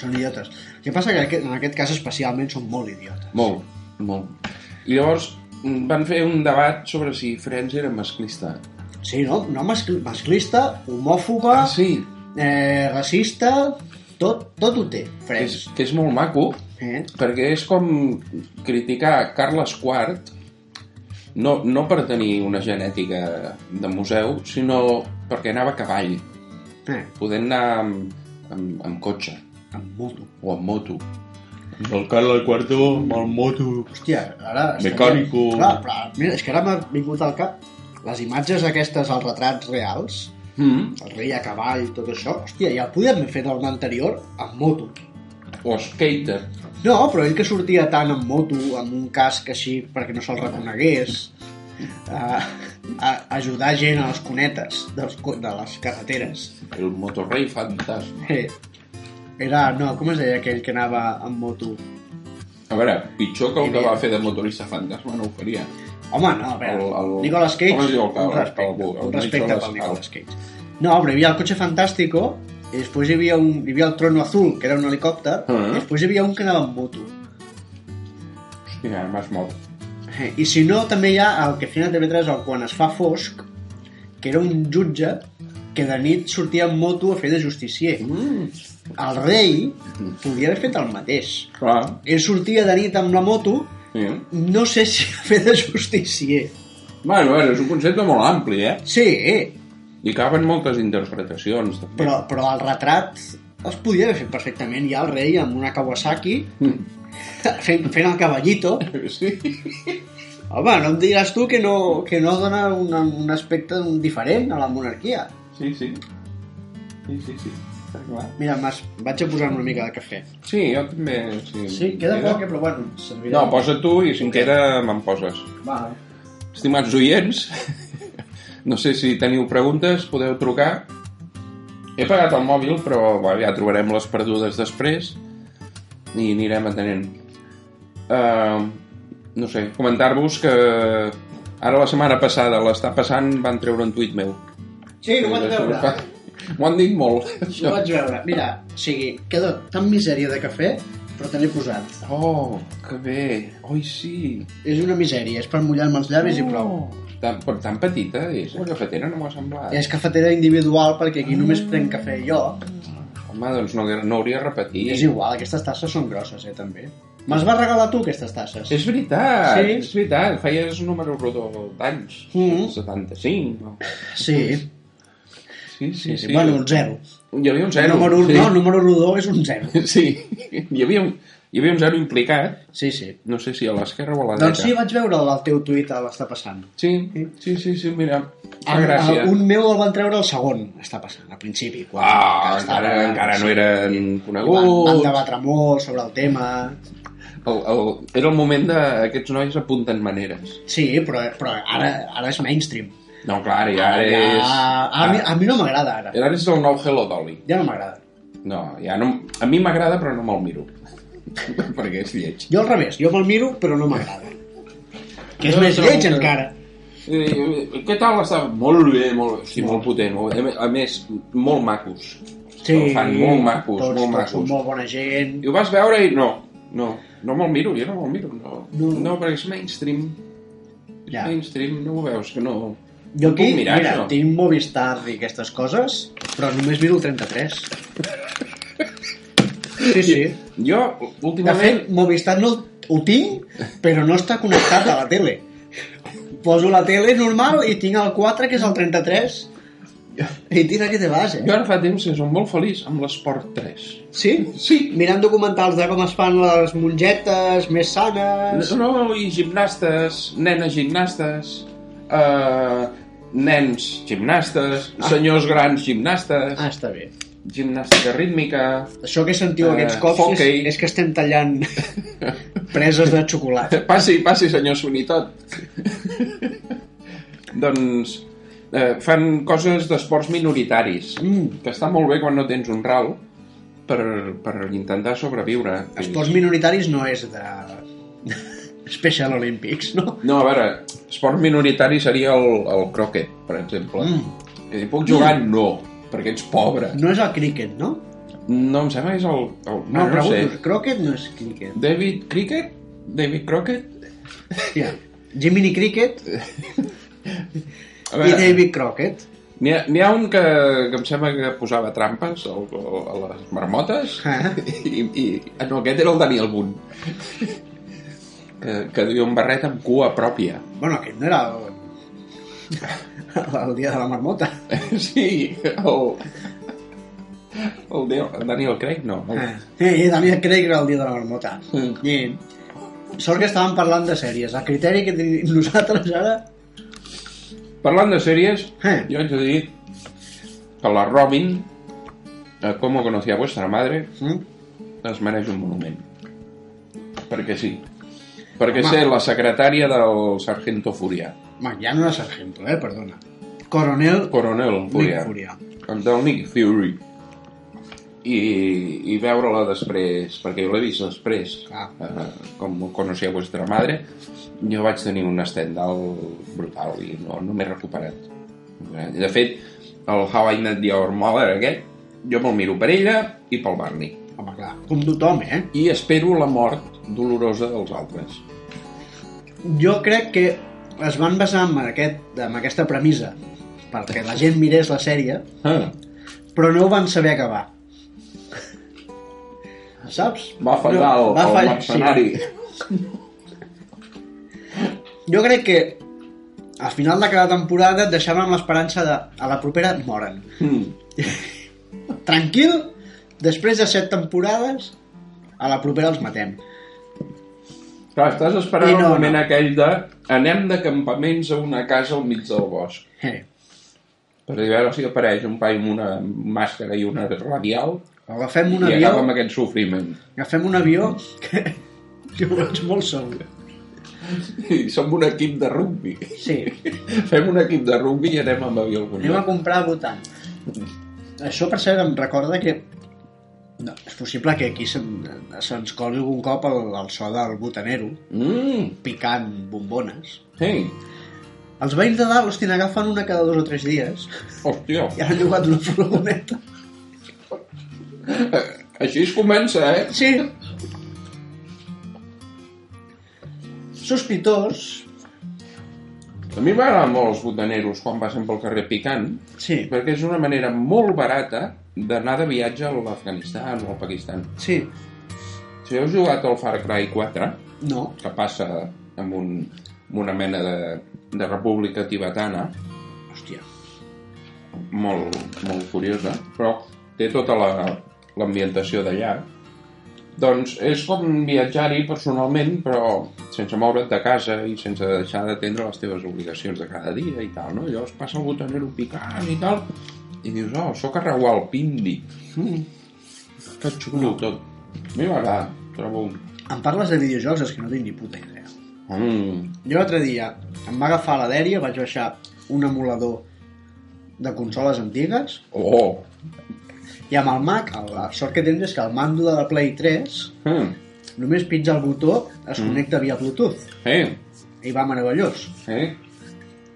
[SPEAKER 3] Són idiotes. El que passa que en aquest- en aquest cas especialment són molt idiotes.
[SPEAKER 1] molt, molt. I llavors mm, van fer un debat sobre si Friends era masclista.
[SPEAKER 3] Sí, no? No mascl masclista, homòfoba,
[SPEAKER 1] Ah, sí,
[SPEAKER 3] eh, racista, tot, tot ho
[SPEAKER 1] que
[SPEAKER 3] té,
[SPEAKER 1] és,
[SPEAKER 3] Frens.
[SPEAKER 1] que és molt maco,
[SPEAKER 3] Eh?
[SPEAKER 1] perquè és com criticar Carles IV no, no per tenir una genètica de museu, sinó perquè anava a cavall,
[SPEAKER 3] Eh?
[SPEAKER 1] podent anar amb, amb, amb cotxe
[SPEAKER 3] Amb moto.
[SPEAKER 1] o amb moto. El Carles IV amb el moto.
[SPEAKER 3] Hòstia, ara... estaria-
[SPEAKER 1] Mecànico.
[SPEAKER 3] Clar, però, mira, és que ara m'ha vingut al cap les imatges aquestes als retrats reals,
[SPEAKER 1] Mm.
[SPEAKER 3] el rei a cavall, tot això, hòstia, ja el podíem haver fet el anterior amb moto.
[SPEAKER 1] O skater.
[SPEAKER 3] No, però ell que sortia tant amb moto, amb un casc així perquè no se'l reconegués, a, a ajudar gent a les cunetes dels, co- de les carreteres.
[SPEAKER 1] El motorrei fantasma.
[SPEAKER 3] Eh, Era, no, com es deia aquell que anava amb moto?
[SPEAKER 1] A veure, pitjor que el que va fer de motorista fantasma no ho faria.
[SPEAKER 3] Home, no, a veure,
[SPEAKER 1] El-
[SPEAKER 3] el,
[SPEAKER 1] el-
[SPEAKER 3] Nicolas Cage,
[SPEAKER 1] com es diu el
[SPEAKER 3] un
[SPEAKER 1] cabra?
[SPEAKER 3] respecte,
[SPEAKER 1] El- el
[SPEAKER 3] un respecte
[SPEAKER 1] Nicolas
[SPEAKER 3] pel Nicolas Cage. No, però hi havia el cotxe fantàstico, i després hi havia, un, hi havia el trono azul, que era un helicòpter,
[SPEAKER 1] Ah.
[SPEAKER 3] i després hi havia un que anava amb moto.
[SPEAKER 1] Hòstia, m'has mort.
[SPEAKER 3] Eh, I si no, també hi ha el que feien a TV3 el Quan es fa fosc, que era un jutge que de nit sortia amb moto a fer de justicier.
[SPEAKER 1] Mm.
[SPEAKER 3] El rei podria haver fet el mateix.
[SPEAKER 1] Clar,
[SPEAKER 3] Ell sortia de nit amb la moto,
[SPEAKER 1] sí.
[SPEAKER 3] no sé si a fer de justicier.
[SPEAKER 1] Bueno, a veure, és un concepte molt ampli, eh?
[SPEAKER 3] Sí, eh,
[SPEAKER 1] Hi caben moltes interpretacions, també.
[SPEAKER 3] Però, però el retrat es podia haver fet perfectament. Hi ha el rei amb una Kawasaki fent, fent el cavallito.
[SPEAKER 1] Sí.
[SPEAKER 3] Home, no em diràs tu que no, que no dona un, un aspecte diferent a la monarquia.
[SPEAKER 1] Sí, sí. Sí, sí, sí. Està clar.
[SPEAKER 3] Mira, Mas, vaig a posar una mica de cafè.
[SPEAKER 1] Sí, jo també... Sí,
[SPEAKER 3] Sí, queda poc, eh, però bueno, servirà.
[SPEAKER 1] No, posa tu i si em queda me'n poses.
[SPEAKER 3] Va.
[SPEAKER 1] Estimats oients, *laughs* no sé si teniu preguntes, podeu trucar. He pagat el mòbil, però va, ja trobarem les perdudes després i anirem atenent. Uh, no sé, comentar-vos que ara la setmana passada, l'està passant, van treure un tuit meu.
[SPEAKER 3] Sí, no ho vaig veure.
[SPEAKER 1] M'ho han dit molt.
[SPEAKER 3] No ho vaig veure. Mira, o sigui, queda tan misèria de cafè, però te l'he posat.
[SPEAKER 1] Oh, que bé. Oi, sí. Oh.
[SPEAKER 3] És una misèria, és per mullar-me els llavis i prou.
[SPEAKER 1] Tan, però tan petita és. La cafetera no m'ho ha semblat.
[SPEAKER 3] És cafetera individual perquè aquí només prenc cafè jo.
[SPEAKER 1] Home, doncs no, no hauria repetit.
[SPEAKER 3] És igual, aquestes tasses són grosses, eh, també. Me'ls vas regalar tu, aquestes tasses?
[SPEAKER 1] És veritat,
[SPEAKER 3] Sí.
[SPEAKER 1] sí. és veritat. Feies un número rodó d'anys.
[SPEAKER 3] Mhm.
[SPEAKER 1] 75. No?
[SPEAKER 3] Sí,
[SPEAKER 1] Sí, sí, sí.
[SPEAKER 3] Bueno, un zero.
[SPEAKER 1] Hi havia un zero.
[SPEAKER 3] número,
[SPEAKER 1] sí.
[SPEAKER 3] No, número rodó és un zero.
[SPEAKER 1] *laughs* Sí, hi havia, un, hi havia un zero implicat,
[SPEAKER 3] Sí, sí.
[SPEAKER 1] no sé si a l'esquerra o a la dreta.
[SPEAKER 3] Doncs sí, vaig veure el teu tuit a l'està passant.
[SPEAKER 1] Sí, sí, sí, sí mira. Ah, Fa gràcia.
[SPEAKER 3] El- Un meu el van treure el segon, està passant, al principi. Quan
[SPEAKER 1] Ah, encara, encara no eren
[SPEAKER 3] Van, van
[SPEAKER 1] coneguts.
[SPEAKER 3] debatre molt sobre el tema.
[SPEAKER 1] El, el, era el moment de... Aquests nois apunten maneres.
[SPEAKER 3] Sí, però, però ara, ara és mainstream.
[SPEAKER 1] No, clar, i ara és...
[SPEAKER 3] A, mi, a mi no m'agrada, ara.
[SPEAKER 1] Ara és el nou Hello Dolly.
[SPEAKER 3] Ja no m'agrada.
[SPEAKER 1] No, ja no... A mi m'agrada, però no me'l miro. *laughs* Perquè és lleig.
[SPEAKER 3] Jo al revés, jo me'l miro, però no m'agrada. Que és
[SPEAKER 1] Jo
[SPEAKER 3] més
[SPEAKER 1] trobo
[SPEAKER 3] lleig
[SPEAKER 1] que-
[SPEAKER 3] encara.
[SPEAKER 1] Eh, què tal està? Molt bé, molt bé. Sí, molt potent. Molt bé. A més, molt macos.
[SPEAKER 3] Sí,
[SPEAKER 1] El fan molt macos,
[SPEAKER 3] tots,
[SPEAKER 1] molt
[SPEAKER 3] tots són
[SPEAKER 1] macos.
[SPEAKER 3] molt bona gent.
[SPEAKER 1] I ho vas veure i no, no, no me'l miro, jo no me'l miro. No, no.
[SPEAKER 3] No.
[SPEAKER 1] no perquè és mainstream.
[SPEAKER 3] Ja.
[SPEAKER 1] Ja. Mainstream, no ho veus, que no...
[SPEAKER 3] Jo aquí,
[SPEAKER 1] Puc mirar,
[SPEAKER 3] mira,
[SPEAKER 1] això?
[SPEAKER 3] tinc Movistar i aquestes coses, però només miro el
[SPEAKER 1] *laughs*
[SPEAKER 3] 33. Sí, sí.
[SPEAKER 1] Jo,
[SPEAKER 3] De
[SPEAKER 1] últimament...
[SPEAKER 3] fet, Movistar no ho tinc, però no està connectat a la tele. Poso la tele normal i tinc el 4, que és el 33, i tira que te vas,
[SPEAKER 1] Jo
[SPEAKER 3] eh?
[SPEAKER 1] ara fa temps que som molt feliç amb l'Esport 3.
[SPEAKER 3] Sí?
[SPEAKER 1] Sí.
[SPEAKER 3] Mirant documentals de com es fan les mongetes més sanes...
[SPEAKER 1] No, no, i gimnastes, nenes gimnastes, eh, nens gimnastes, senyors grans gimnastes,
[SPEAKER 3] Ah, està bé.
[SPEAKER 1] gimnàstica rítmica...
[SPEAKER 3] Això que sentiu
[SPEAKER 1] Eh,
[SPEAKER 3] aquests cops
[SPEAKER 1] hockey.
[SPEAKER 3] és, és que estem tallant
[SPEAKER 1] *laughs*
[SPEAKER 3] preses de xocolata.
[SPEAKER 1] Passi, passi, senyor Sunitot. *laughs* doncs eh, fan coses d'esports minoritaris,
[SPEAKER 3] Mm.
[SPEAKER 1] que està molt bé quan no tens un ral per, per intentar sobreviure.
[SPEAKER 3] Esports minoritaris no és de... Special Olympics, no?
[SPEAKER 1] No, a veure, esport minoritari seria el, el croquet, per exemple.
[SPEAKER 3] Mm.
[SPEAKER 1] Que hi puc jugar? No, perquè ets pobre.
[SPEAKER 3] No és el cricket, no?
[SPEAKER 1] No, em sembla que és el... el
[SPEAKER 3] No,
[SPEAKER 1] Ah, no, no, sé.
[SPEAKER 3] pregunto, croquet no és cricket.
[SPEAKER 1] David Cricket? David Crockett?
[SPEAKER 3] Hòstia, Jiminy Cricket
[SPEAKER 1] A
[SPEAKER 3] i
[SPEAKER 1] veure,
[SPEAKER 3] David Crockett.
[SPEAKER 1] n'hi ha, n'hi ha un que, que em sembla que posava trampes al, al- a les marmotes
[SPEAKER 3] Ah.
[SPEAKER 1] *laughs* i, i ah, no, aquest era el Daniel Boone que, que duia un barret amb cua pròpia *laughs*
[SPEAKER 3] Bueno, aquest no era el... el dia de la marmota.
[SPEAKER 1] sí el, el, Deo- el Daniel Craig no el,
[SPEAKER 3] Ah. Eh, Daniel Craig era el dia de la marmota.
[SPEAKER 1] Mm.
[SPEAKER 3] I... Sort que estàvem parlant de sèries. El criteri que tenim nosaltres ara...
[SPEAKER 1] Parlant de sèries,
[SPEAKER 3] Eh.
[SPEAKER 1] jo haig de dir que la Robin, eh, a Como conocía vuestra madre,
[SPEAKER 3] Mm?
[SPEAKER 1] es mereix un monument. Perquè sí. Perquè
[SPEAKER 3] Home.
[SPEAKER 1] ser la secretària del Sargento Furià.
[SPEAKER 3] Bueno, ja no era sargento, eh? Perdona. Coronel
[SPEAKER 1] Coronel
[SPEAKER 3] Nick
[SPEAKER 1] Furià.
[SPEAKER 3] Furia.
[SPEAKER 1] Del Nick Fury. I, i veure-la després, perquè jo l'he vist després,
[SPEAKER 3] Ah.
[SPEAKER 1] eh, com coneixia vostra madre, jo vaig tenir un estendal brutal i no, no m'he recuperat. De fet, el How I Met Your Mother aquest, jo me'l miro per ella i pel Barney.
[SPEAKER 3] Home, clar, com tothom, eh?
[SPEAKER 1] I espero la mort dolorosa dels altres.
[SPEAKER 3] Jo crec que es van basar en, aquest, en aquesta premissa perquè la gent mirés la sèrie,
[SPEAKER 1] Ah.
[SPEAKER 3] però no ho van saber acabar. Saps?
[SPEAKER 1] Va fallar
[SPEAKER 3] No,
[SPEAKER 1] el,
[SPEAKER 3] va
[SPEAKER 1] el
[SPEAKER 3] fall-
[SPEAKER 1] mercenari.
[SPEAKER 3] Sí. Jo crec que Al final de cada temporada et deixaven amb l'esperança de a la propera moren.
[SPEAKER 1] Mm.
[SPEAKER 3] Tranquil, després de set temporades, a la propera els matem.
[SPEAKER 1] Clar, estàs esperant
[SPEAKER 3] I
[SPEAKER 1] no,
[SPEAKER 3] no,
[SPEAKER 1] el moment
[SPEAKER 3] no.
[SPEAKER 1] aquell de anem de campaments a una casa al mig del bosc
[SPEAKER 3] Eh,
[SPEAKER 1] per veure si apareix un paio amb una màscara i una radial
[SPEAKER 3] agafem un
[SPEAKER 1] i
[SPEAKER 3] avió,
[SPEAKER 1] acaba amb aquest sofriment.
[SPEAKER 3] agafem un avió que, que ho veig molt segur.
[SPEAKER 1] I som un equip de rugbi.
[SPEAKER 3] Sí,
[SPEAKER 1] *laughs* Fem un equip de rugbi i anem amb avió algun
[SPEAKER 3] anem a
[SPEAKER 1] lloc.
[SPEAKER 3] comprar votant. Això, per cert, em recorda que no, és possible que aquí se'n- se'ns coli algun cop el, el so del botanero
[SPEAKER 1] Mm,
[SPEAKER 3] picant bombones.
[SPEAKER 1] sí,
[SPEAKER 3] Els veïns de dalt, hòstia, n'agafen una cada dos o tres dies
[SPEAKER 1] hòstia.
[SPEAKER 3] i han llogat una furgoneta.
[SPEAKER 1] Així es comença, eh?
[SPEAKER 3] Sí. Sospitós.
[SPEAKER 1] A mi m'agraden molt els botaneros quan passen pel carrer picant,
[SPEAKER 3] Sí,
[SPEAKER 1] perquè és una manera molt barata d'anar de viatge a l'Afganistan o al Pakistan.
[SPEAKER 3] sí.
[SPEAKER 1] Si heu jugat al Far Cry 4,
[SPEAKER 3] No.
[SPEAKER 1] que passa amb, un, amb una mena de, de república tibetana,
[SPEAKER 3] Hòstia.
[SPEAKER 1] molt, molt curiosa, però té tota la- l'ambientació la, d'allà. Doncs és com viatjar-hi personalment, però sense moure't de casa i sense deixar d'atendre les teves obligacions de cada dia i tal, no? Llavors passa el botanero picant i tal, i dius, oh, sóc a Rawalpindi. Mm. Tot xulo, tot. A mi m'agrada, trobo...
[SPEAKER 3] Em parles de videojocs, és que no tinc ni puta idea.
[SPEAKER 1] Mm.
[SPEAKER 3] Jo l'altre dia em va agafar la dèria, vaig baixar un emulador de consoles antigues
[SPEAKER 1] Oh!
[SPEAKER 3] i amb el Mac, la sort que tens és que el mando de la Play 3
[SPEAKER 1] Mm.
[SPEAKER 3] només pitja el botó, es connecta via Bluetooth
[SPEAKER 1] Eh,
[SPEAKER 3] i va meravellós.
[SPEAKER 1] eh.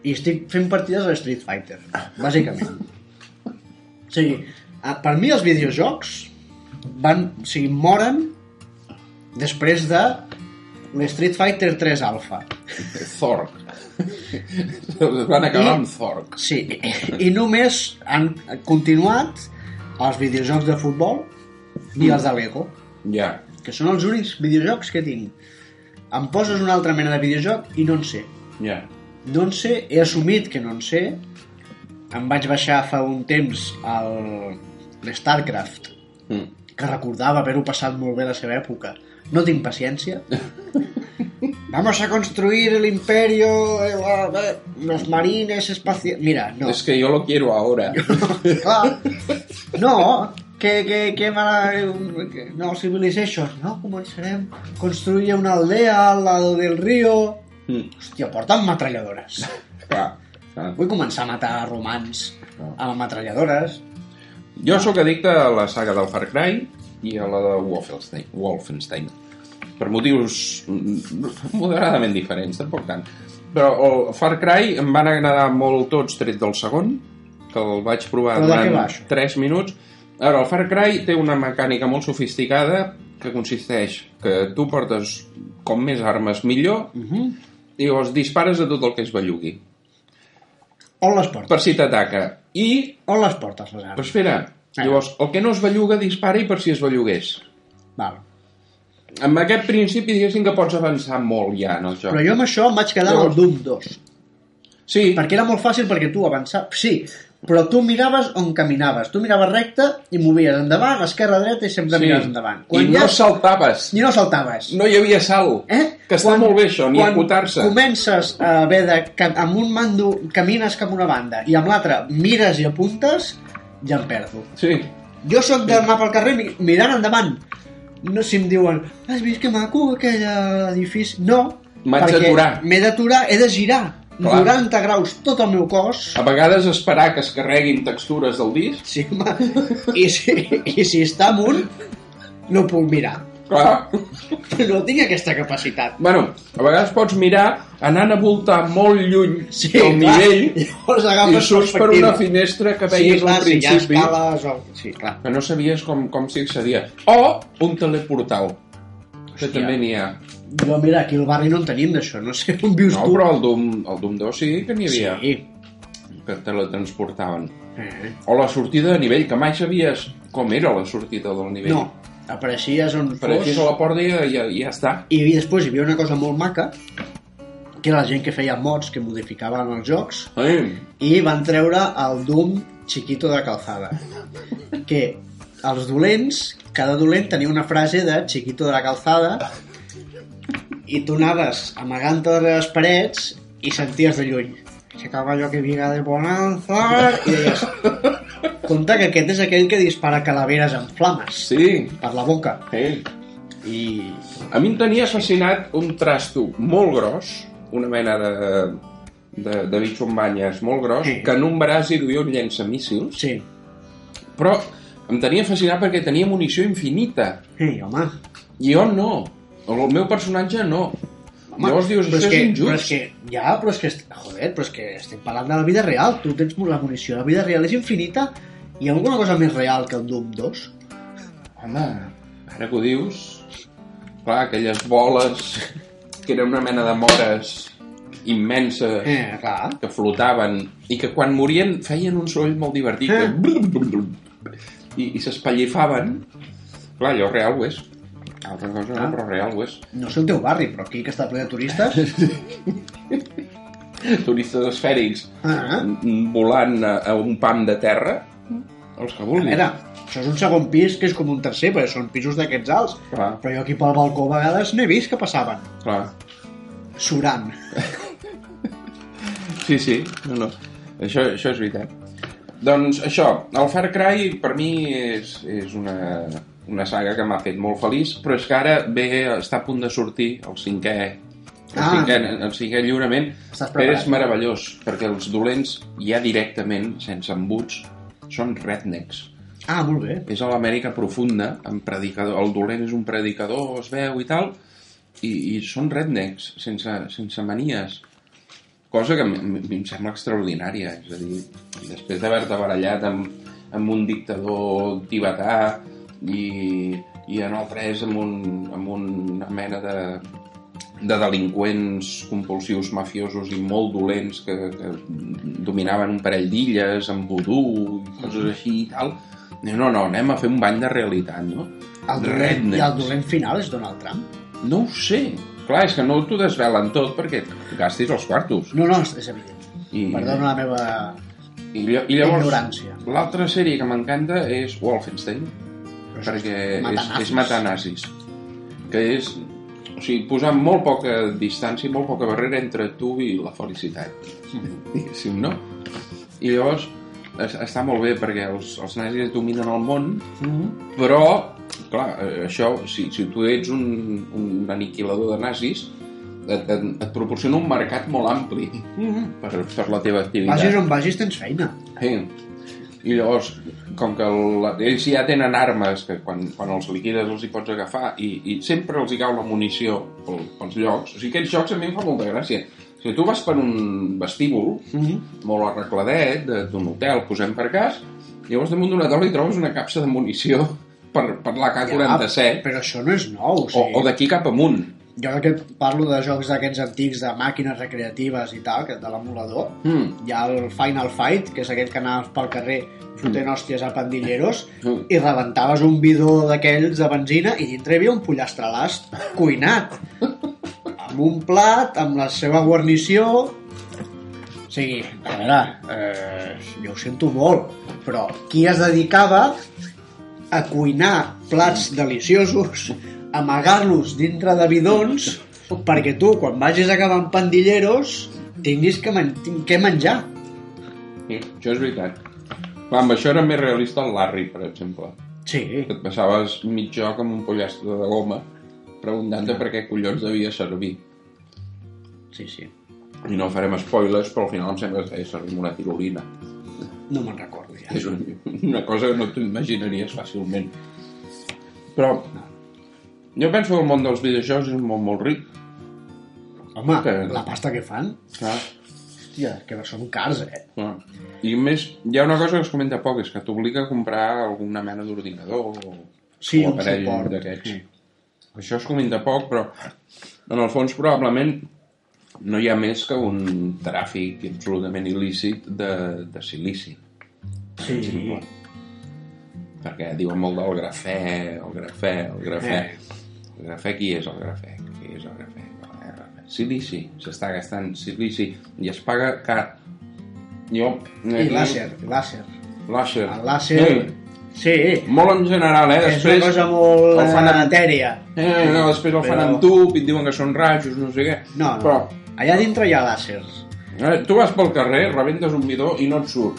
[SPEAKER 3] i estic fent partides a Street Fighter, bàsicament. O sigui, a- per mi els videojocs van, o sigui, moren després de l'Street Fighter 3 Alpha.
[SPEAKER 1] *laughs* Zork. Van acabar amb Zork.
[SPEAKER 3] Sí, i només han continuat els videojocs de futbol i els de Lego,
[SPEAKER 1] Ja.
[SPEAKER 3] que són els únics videojocs que tinc. Em poses una altra mena de videojoc i no en sé.
[SPEAKER 1] Ja.
[SPEAKER 3] No en sé, he assumit que no en sé. Em vaig baixar fa un temps el... l'Starcraft,
[SPEAKER 1] Mm.
[SPEAKER 3] que recordava haver-ho passat molt bé a la seva època. No tinc paciència. Vamos a construir el imperio, eh, la- eh, los marines espaciales... Mira, no.
[SPEAKER 1] Es que yo lo quiero
[SPEAKER 3] *laughs*
[SPEAKER 1] ahora.
[SPEAKER 3] Clar. No, que, que, que, mala... que no, Civilization, no? Començarem a construir una aldea al lado del río...
[SPEAKER 1] Mm.
[SPEAKER 3] Hòstia, porta'm metralladores.
[SPEAKER 1] Clar, clar.
[SPEAKER 3] Vull començar a matar romans
[SPEAKER 1] Ah.
[SPEAKER 3] amb metralladores.
[SPEAKER 1] Jo sóc addicte a la saga del Far Cry i a la de Wolfenstein. Wolfenstein. Per motius mm, moderadament diferents, tampoc tant. Però el Far Cry em van agradar molt tots, tret del segon, que el vaig provar
[SPEAKER 3] Però de què va,
[SPEAKER 1] durant
[SPEAKER 3] això?
[SPEAKER 1] 3 minuts. Ara, el Far Cry té una mecànica molt sofisticada que consisteix que tu portes com més armes millor uh -huh.
[SPEAKER 3] Mhm.
[SPEAKER 1] i llavors dispares a tot el que es bellugui,
[SPEAKER 3] On les portes?
[SPEAKER 1] per si t'ataca. I
[SPEAKER 3] On les portes, les
[SPEAKER 1] Però
[SPEAKER 3] armes?
[SPEAKER 1] espera,
[SPEAKER 3] Ah.
[SPEAKER 1] llavors, el que no es belluga dispara i per si es bellugués.
[SPEAKER 3] Val.
[SPEAKER 1] Amb aquest principi diguéssim que pots avançar molt ja en el joc.
[SPEAKER 3] Però jo amb això em vaig quedar al
[SPEAKER 1] Llavors-
[SPEAKER 3] Doom 2.
[SPEAKER 1] Sí,
[SPEAKER 3] Perquè era molt fàcil perquè tu avançar... Sí, però tu miraves on caminaves. Tu miraves recte i movies endavant, esquerra, dreta i sempre
[SPEAKER 1] sí.
[SPEAKER 3] sí. miraves endavant.
[SPEAKER 1] I no
[SPEAKER 3] ja-
[SPEAKER 1] saltaves.
[SPEAKER 3] I no saltaves.
[SPEAKER 1] No hi havia salt.
[SPEAKER 3] Eh?
[SPEAKER 1] Que està
[SPEAKER 3] Quan-
[SPEAKER 1] molt bé això, ni
[SPEAKER 3] quan
[SPEAKER 1] acotar-se.
[SPEAKER 3] comences a haver de... Que amb un mando camines cap a una banda i amb l'altra mires i apuntes, ja em perdo.
[SPEAKER 1] Sí.
[SPEAKER 3] Jo sóc d'anar pel carrer mi- mirant endavant. No si em diuen, has vist que maco aquell eh, edifici? No,
[SPEAKER 1] M'haig
[SPEAKER 3] perquè
[SPEAKER 1] d'aturar.
[SPEAKER 3] M'he d'aturar, he de girar
[SPEAKER 1] Clar.
[SPEAKER 3] 90 graus tot el meu cos.
[SPEAKER 1] A vegades esperar que es carreguin textures del disc.
[SPEAKER 3] Sí, home. I, si, I si està amunt, no puc mirar.
[SPEAKER 1] Clar.
[SPEAKER 3] No tinc aquesta capacitat.
[SPEAKER 1] Bueno, a vegades pots mirar anant a voltar molt lluny
[SPEAKER 3] Sí,
[SPEAKER 1] del
[SPEAKER 3] clar.
[SPEAKER 1] nivell
[SPEAKER 3] Llavors
[SPEAKER 1] i
[SPEAKER 3] agafes
[SPEAKER 1] surts per
[SPEAKER 3] perspectiva.
[SPEAKER 1] una finestra que
[SPEAKER 3] Sí,
[SPEAKER 1] veies
[SPEAKER 3] clar,
[SPEAKER 1] al
[SPEAKER 3] si hi ha
[SPEAKER 1] principi.
[SPEAKER 3] escales o... Sí, clar.
[SPEAKER 1] que no sabies com, com s'hi accedia. O un teleportal, que
[SPEAKER 3] Hòstia.
[SPEAKER 1] també n'hi ha.
[SPEAKER 3] Jo, mira, aquí al barri no en tenim d'això. No sé on vius
[SPEAKER 1] No,
[SPEAKER 3] tu.
[SPEAKER 1] però el Doom, el Doom 2 sí que n'hi havia,
[SPEAKER 3] Sí.
[SPEAKER 1] sí. que teletransportaven.
[SPEAKER 3] Eh.
[SPEAKER 1] O la sortida de nivell, que mai sabies com era la sortida del nivell.
[SPEAKER 3] No, apareixies on
[SPEAKER 1] Apareixies a la porta i ja, ja, ja està.
[SPEAKER 3] I després hi havia una cosa molt maca, que era la gent que feia mods que modificaven els jocs
[SPEAKER 1] Eh?
[SPEAKER 3] i van treure el Doom Chiquito de Calzada que els dolents cada dolent tenia una frase de Chiquito de la Calzada i tu anaves amagant-te darrere les parets i senties de lluny se caballo que viga de bonanza i deies compte que aquest és aquell que dispara calaveres en flames
[SPEAKER 1] Sí.
[SPEAKER 3] per la boca
[SPEAKER 1] Eh?
[SPEAKER 3] i
[SPEAKER 1] A mi em tenia fascinat un trasto molt gros, una mena de, de, de bitxo amb banyes molt gros,
[SPEAKER 3] Sí.
[SPEAKER 1] que en un braç hi duia un llançamíssils,
[SPEAKER 3] sí,
[SPEAKER 1] però em tenia fascinat perquè tenia munició infinita.
[SPEAKER 3] sí home
[SPEAKER 1] I jo no. El meu personatge no. Home, Llavors dius,
[SPEAKER 3] però
[SPEAKER 1] això és,
[SPEAKER 3] que, Però és
[SPEAKER 1] injust.
[SPEAKER 3] que, ja, però és que, est- joder, però és que estem parlant de la vida real. Tu tens la munició, la vida real és infinita. Hi ha alguna cosa més real que el Doom 2?
[SPEAKER 1] Home, ara que ho dius... Clar, aquelles boles que eren una mena de mores immenses
[SPEAKER 3] Eh, clar.
[SPEAKER 1] que flotaven i que quan morien feien un soroll molt divertit que...
[SPEAKER 3] Eh.
[SPEAKER 1] brum, brum, brum, i, i s'espallifaven clar, allò real ho és altra cosa no,
[SPEAKER 3] Ah.
[SPEAKER 1] però real ho és
[SPEAKER 3] No sé el teu barri, però aquí que està ple de turistes...
[SPEAKER 1] turistes esfèrics
[SPEAKER 3] Ah, ah.
[SPEAKER 1] mm, volant a, a un pam de terra els que
[SPEAKER 3] A
[SPEAKER 1] vulguin
[SPEAKER 3] veure, això és un segon pis que és com un tercer, perquè són pisos d'aquests alts.
[SPEAKER 1] clar,
[SPEAKER 3] Però jo aquí pel balcó a vegades n'he vist que passaven,
[SPEAKER 1] clar.
[SPEAKER 3] surant.
[SPEAKER 1] sí, sí, no, no. Això, això és veritat doncs això, el Far Cry per mi és, és una, una saga que m'ha fet molt feliç però és que ara ve, està a punt de sortir el cinquè el,
[SPEAKER 3] Ah.
[SPEAKER 1] cinquè, el cinquè lliurament
[SPEAKER 3] Estàs
[SPEAKER 1] però
[SPEAKER 3] preparat?
[SPEAKER 1] és meravellós perquè els dolents ja directament, sense embuts són rednecks
[SPEAKER 3] Ah, molt bé.
[SPEAKER 1] és a l'Amèrica profunda, amb predicador, el dolent és un predicador, es veu i tal, i, i són rednecks, sense, sense manies. Cosa que a mi a mi em sembla extraordinària, és a dir, després d'haver-te barallat amb, amb un dictador tibetà i, i en el pres amb, un, amb una mena de, de delinqüents compulsius mafiosos i molt dolents que, que dominaven un parell d'illes amb vudú i coses
[SPEAKER 3] Mm-hmm.
[SPEAKER 1] així i tal, Diu, no, no, anem a fer un bany de realitat, no?
[SPEAKER 3] El dolent, I el dolent final és Donald Trump.
[SPEAKER 1] No ho sé. Clar, és que no t'ho desvelen tot perquè gastis els quartos.
[SPEAKER 3] No, no, és- és evident.
[SPEAKER 1] I,
[SPEAKER 3] Perdona la meva...
[SPEAKER 1] I, lla- i Mm. llavors,
[SPEAKER 3] Ignorància.
[SPEAKER 1] l'altra sèrie que m'encanta és Wolfenstein, perquè és,
[SPEAKER 3] Matanazos.
[SPEAKER 1] és matar nazis. Que és, o sigui, posar molt poca distància, molt poca barrera entre tu i la felicitat. Diguéssim, no? I llavors, es, està molt bé perquè els, els nazis dominen el món
[SPEAKER 3] Mhm.
[SPEAKER 1] però, clar, eh, això, si, si tu ets un, un aniquilador de nazis, et, et, et proporciona un mercat molt ampli
[SPEAKER 3] Mhm.
[SPEAKER 1] per, per la teva
[SPEAKER 3] Vagis
[SPEAKER 1] activitat.
[SPEAKER 3] on vagis tens feina.
[SPEAKER 1] Sí. I llavors, com que el, ells ja tenen armes que quan, quan els liquides els hi pots agafar i, i sempre els hi cau la munició pel, pels llocs, o sigui, aquests jocs a mi em fa molta gràcia. Si tu vas per un vestíbul molt arregladet de- d'un hotel, posem per cas, llavors damunt d'una taula hi trobes una capsa de munició *laughs* per, per
[SPEAKER 3] Ja,
[SPEAKER 1] l'AK-47
[SPEAKER 3] Ah, però això no és nou, o
[SPEAKER 1] o,
[SPEAKER 3] sigui...
[SPEAKER 1] o d'aquí cap amunt.
[SPEAKER 3] Jo que parlo de jocs d'aquests antics, de màquines recreatives i tal, que de l'emulador,
[SPEAKER 1] Mm.
[SPEAKER 3] hi ha el Final Fight, que és aquell que anaves pel carrer fotent hòsties a pandilleros
[SPEAKER 1] Mm.
[SPEAKER 3] i rebentaves un bidó d'aquells de benzina i dintre hi havia un pollastre l'ast cuinat amb un plat, amb la seva guarnició o sigui, a veure eh, jo ho sento molt però qui es dedicava a cuinar plats deliciosos amagar-los dintre de bidons perquè tu quan vagis a acabar amb pandilleros tinguis que, men que menjar
[SPEAKER 1] Sí, això és veritat. Clar, amb això era més realista el Larry, per exemple.
[SPEAKER 3] sí,
[SPEAKER 1] Que et passaves mig joc amb un pollastre de goma preguntant-te per què collons devia servir.
[SPEAKER 3] sí, sí
[SPEAKER 1] I no farem spoilers, però al final em sembla que es deia servir amb una tirolina.
[SPEAKER 3] No me'n recordo ja.
[SPEAKER 1] És un, una cosa que no t'ho imaginaries fàcilment. Però jo penso que el món dels videojocs és un món molt ric.
[SPEAKER 3] Home,
[SPEAKER 1] Que-
[SPEAKER 3] la pasta que fan,
[SPEAKER 1] Clar.
[SPEAKER 3] hòstia, que són cars, eh?
[SPEAKER 1] Clar. I més, hi ha una cosa que es comenta poc, és que t'obliga a comprar alguna mena d'ordinador o,
[SPEAKER 3] Sí,
[SPEAKER 1] o
[SPEAKER 3] un
[SPEAKER 1] aparell
[SPEAKER 3] suport.
[SPEAKER 1] d'aquests. Això es comenta poc, però en el fons probablement no hi ha més que un tràfic absolutament il·lícit de, de silici.
[SPEAKER 3] Sí,
[SPEAKER 1] perquè diuen molt del grafè, el grafè, el grafè.
[SPEAKER 3] Eh.
[SPEAKER 1] El grafè qui és el grafè? Qui és el grafè? El grafè. silici, s'està gastant silici i es paga car. Jo... eh,
[SPEAKER 3] I làser, làser.
[SPEAKER 1] Làser.
[SPEAKER 3] El làser... Sí,
[SPEAKER 1] molt en general, eh?
[SPEAKER 3] és una
[SPEAKER 1] Després,
[SPEAKER 3] cosa molt
[SPEAKER 1] el fan amb-
[SPEAKER 3] etèria.
[SPEAKER 1] eh, no, després el fan
[SPEAKER 3] Però-
[SPEAKER 1] amb tub i et diuen que són rajos, no sé què.
[SPEAKER 3] No, no.
[SPEAKER 1] Però
[SPEAKER 3] Allà dintre hi ha làsers.
[SPEAKER 1] eh, tu vas pel carrer, rebentes un bidó i no et surt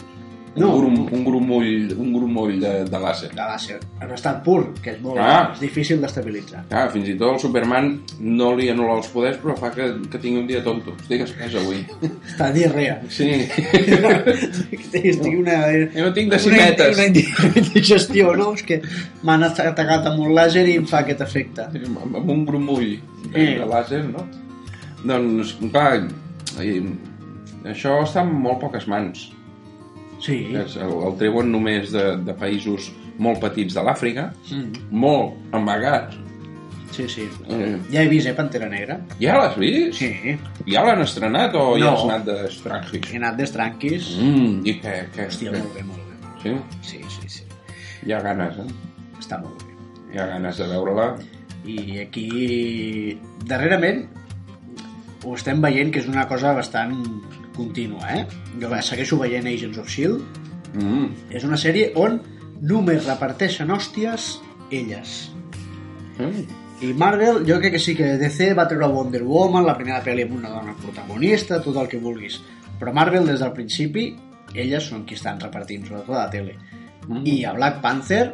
[SPEAKER 1] un,
[SPEAKER 3] No.
[SPEAKER 1] grum, un grumoll, un grumoll de, de làser.
[SPEAKER 3] de làser en estat pur, que és molt
[SPEAKER 1] Ah.
[SPEAKER 3] és difícil d'estabilitzar.
[SPEAKER 1] Clar, Ah, fins i tot el Superman no li anul·la els poders, però fa que, que tingui un dia tonto. Estic espès avui.
[SPEAKER 3] Està diarrea.
[SPEAKER 1] Sí.
[SPEAKER 3] Estic una...
[SPEAKER 1] Jo tinc decimetes.
[SPEAKER 3] Una, una indigestió, no? És que m'han atacat amb un làser i em fa aquest efecte.
[SPEAKER 1] *laughs* amb amb un grumull
[SPEAKER 3] Eh.
[SPEAKER 1] de làser, no? Doncs, clar, i, això està en molt poques mans.
[SPEAKER 3] Sí.
[SPEAKER 1] Es- El, el treuen només de, de països molt petits de l'Àfrica,
[SPEAKER 3] Mm.
[SPEAKER 1] molt amagats.
[SPEAKER 3] Sí, sí.
[SPEAKER 1] Eh,
[SPEAKER 3] Ja he vist, eh, Pantera Negra?
[SPEAKER 1] ja l'has vist?
[SPEAKER 3] Sí.
[SPEAKER 1] Ja l'han estrenat o
[SPEAKER 3] No.
[SPEAKER 1] ja has anat d'estranjis?
[SPEAKER 3] He anat d'estranquis.
[SPEAKER 1] Mm, I què? què,
[SPEAKER 3] Hòstia,
[SPEAKER 1] què?
[SPEAKER 3] molt bé, molt bé.
[SPEAKER 1] Sí?
[SPEAKER 3] Sí, sí, sí.
[SPEAKER 1] Hi ha ganes, eh?
[SPEAKER 3] Està molt bé.
[SPEAKER 1] Hi ha ganes de veure-la.
[SPEAKER 3] I aquí, darrerament, ho estem veient que és una cosa bastant contínua, eh? Jo segueixo veient Agents of S.H.I.E.L.D.,
[SPEAKER 1] Mm.
[SPEAKER 3] E És una sèrie on només reparteixen hòsties elles.
[SPEAKER 1] Mm.
[SPEAKER 3] I Marvel, jo crec que sí que DC va treure Wonder Woman, la primera pel·li amb una dona protagonista, tot el que vulguis. Però Marvel, des del principi, elles són qui estan repartint, sobretot a la tele.
[SPEAKER 1] Mm.
[SPEAKER 3] I a Black Panther,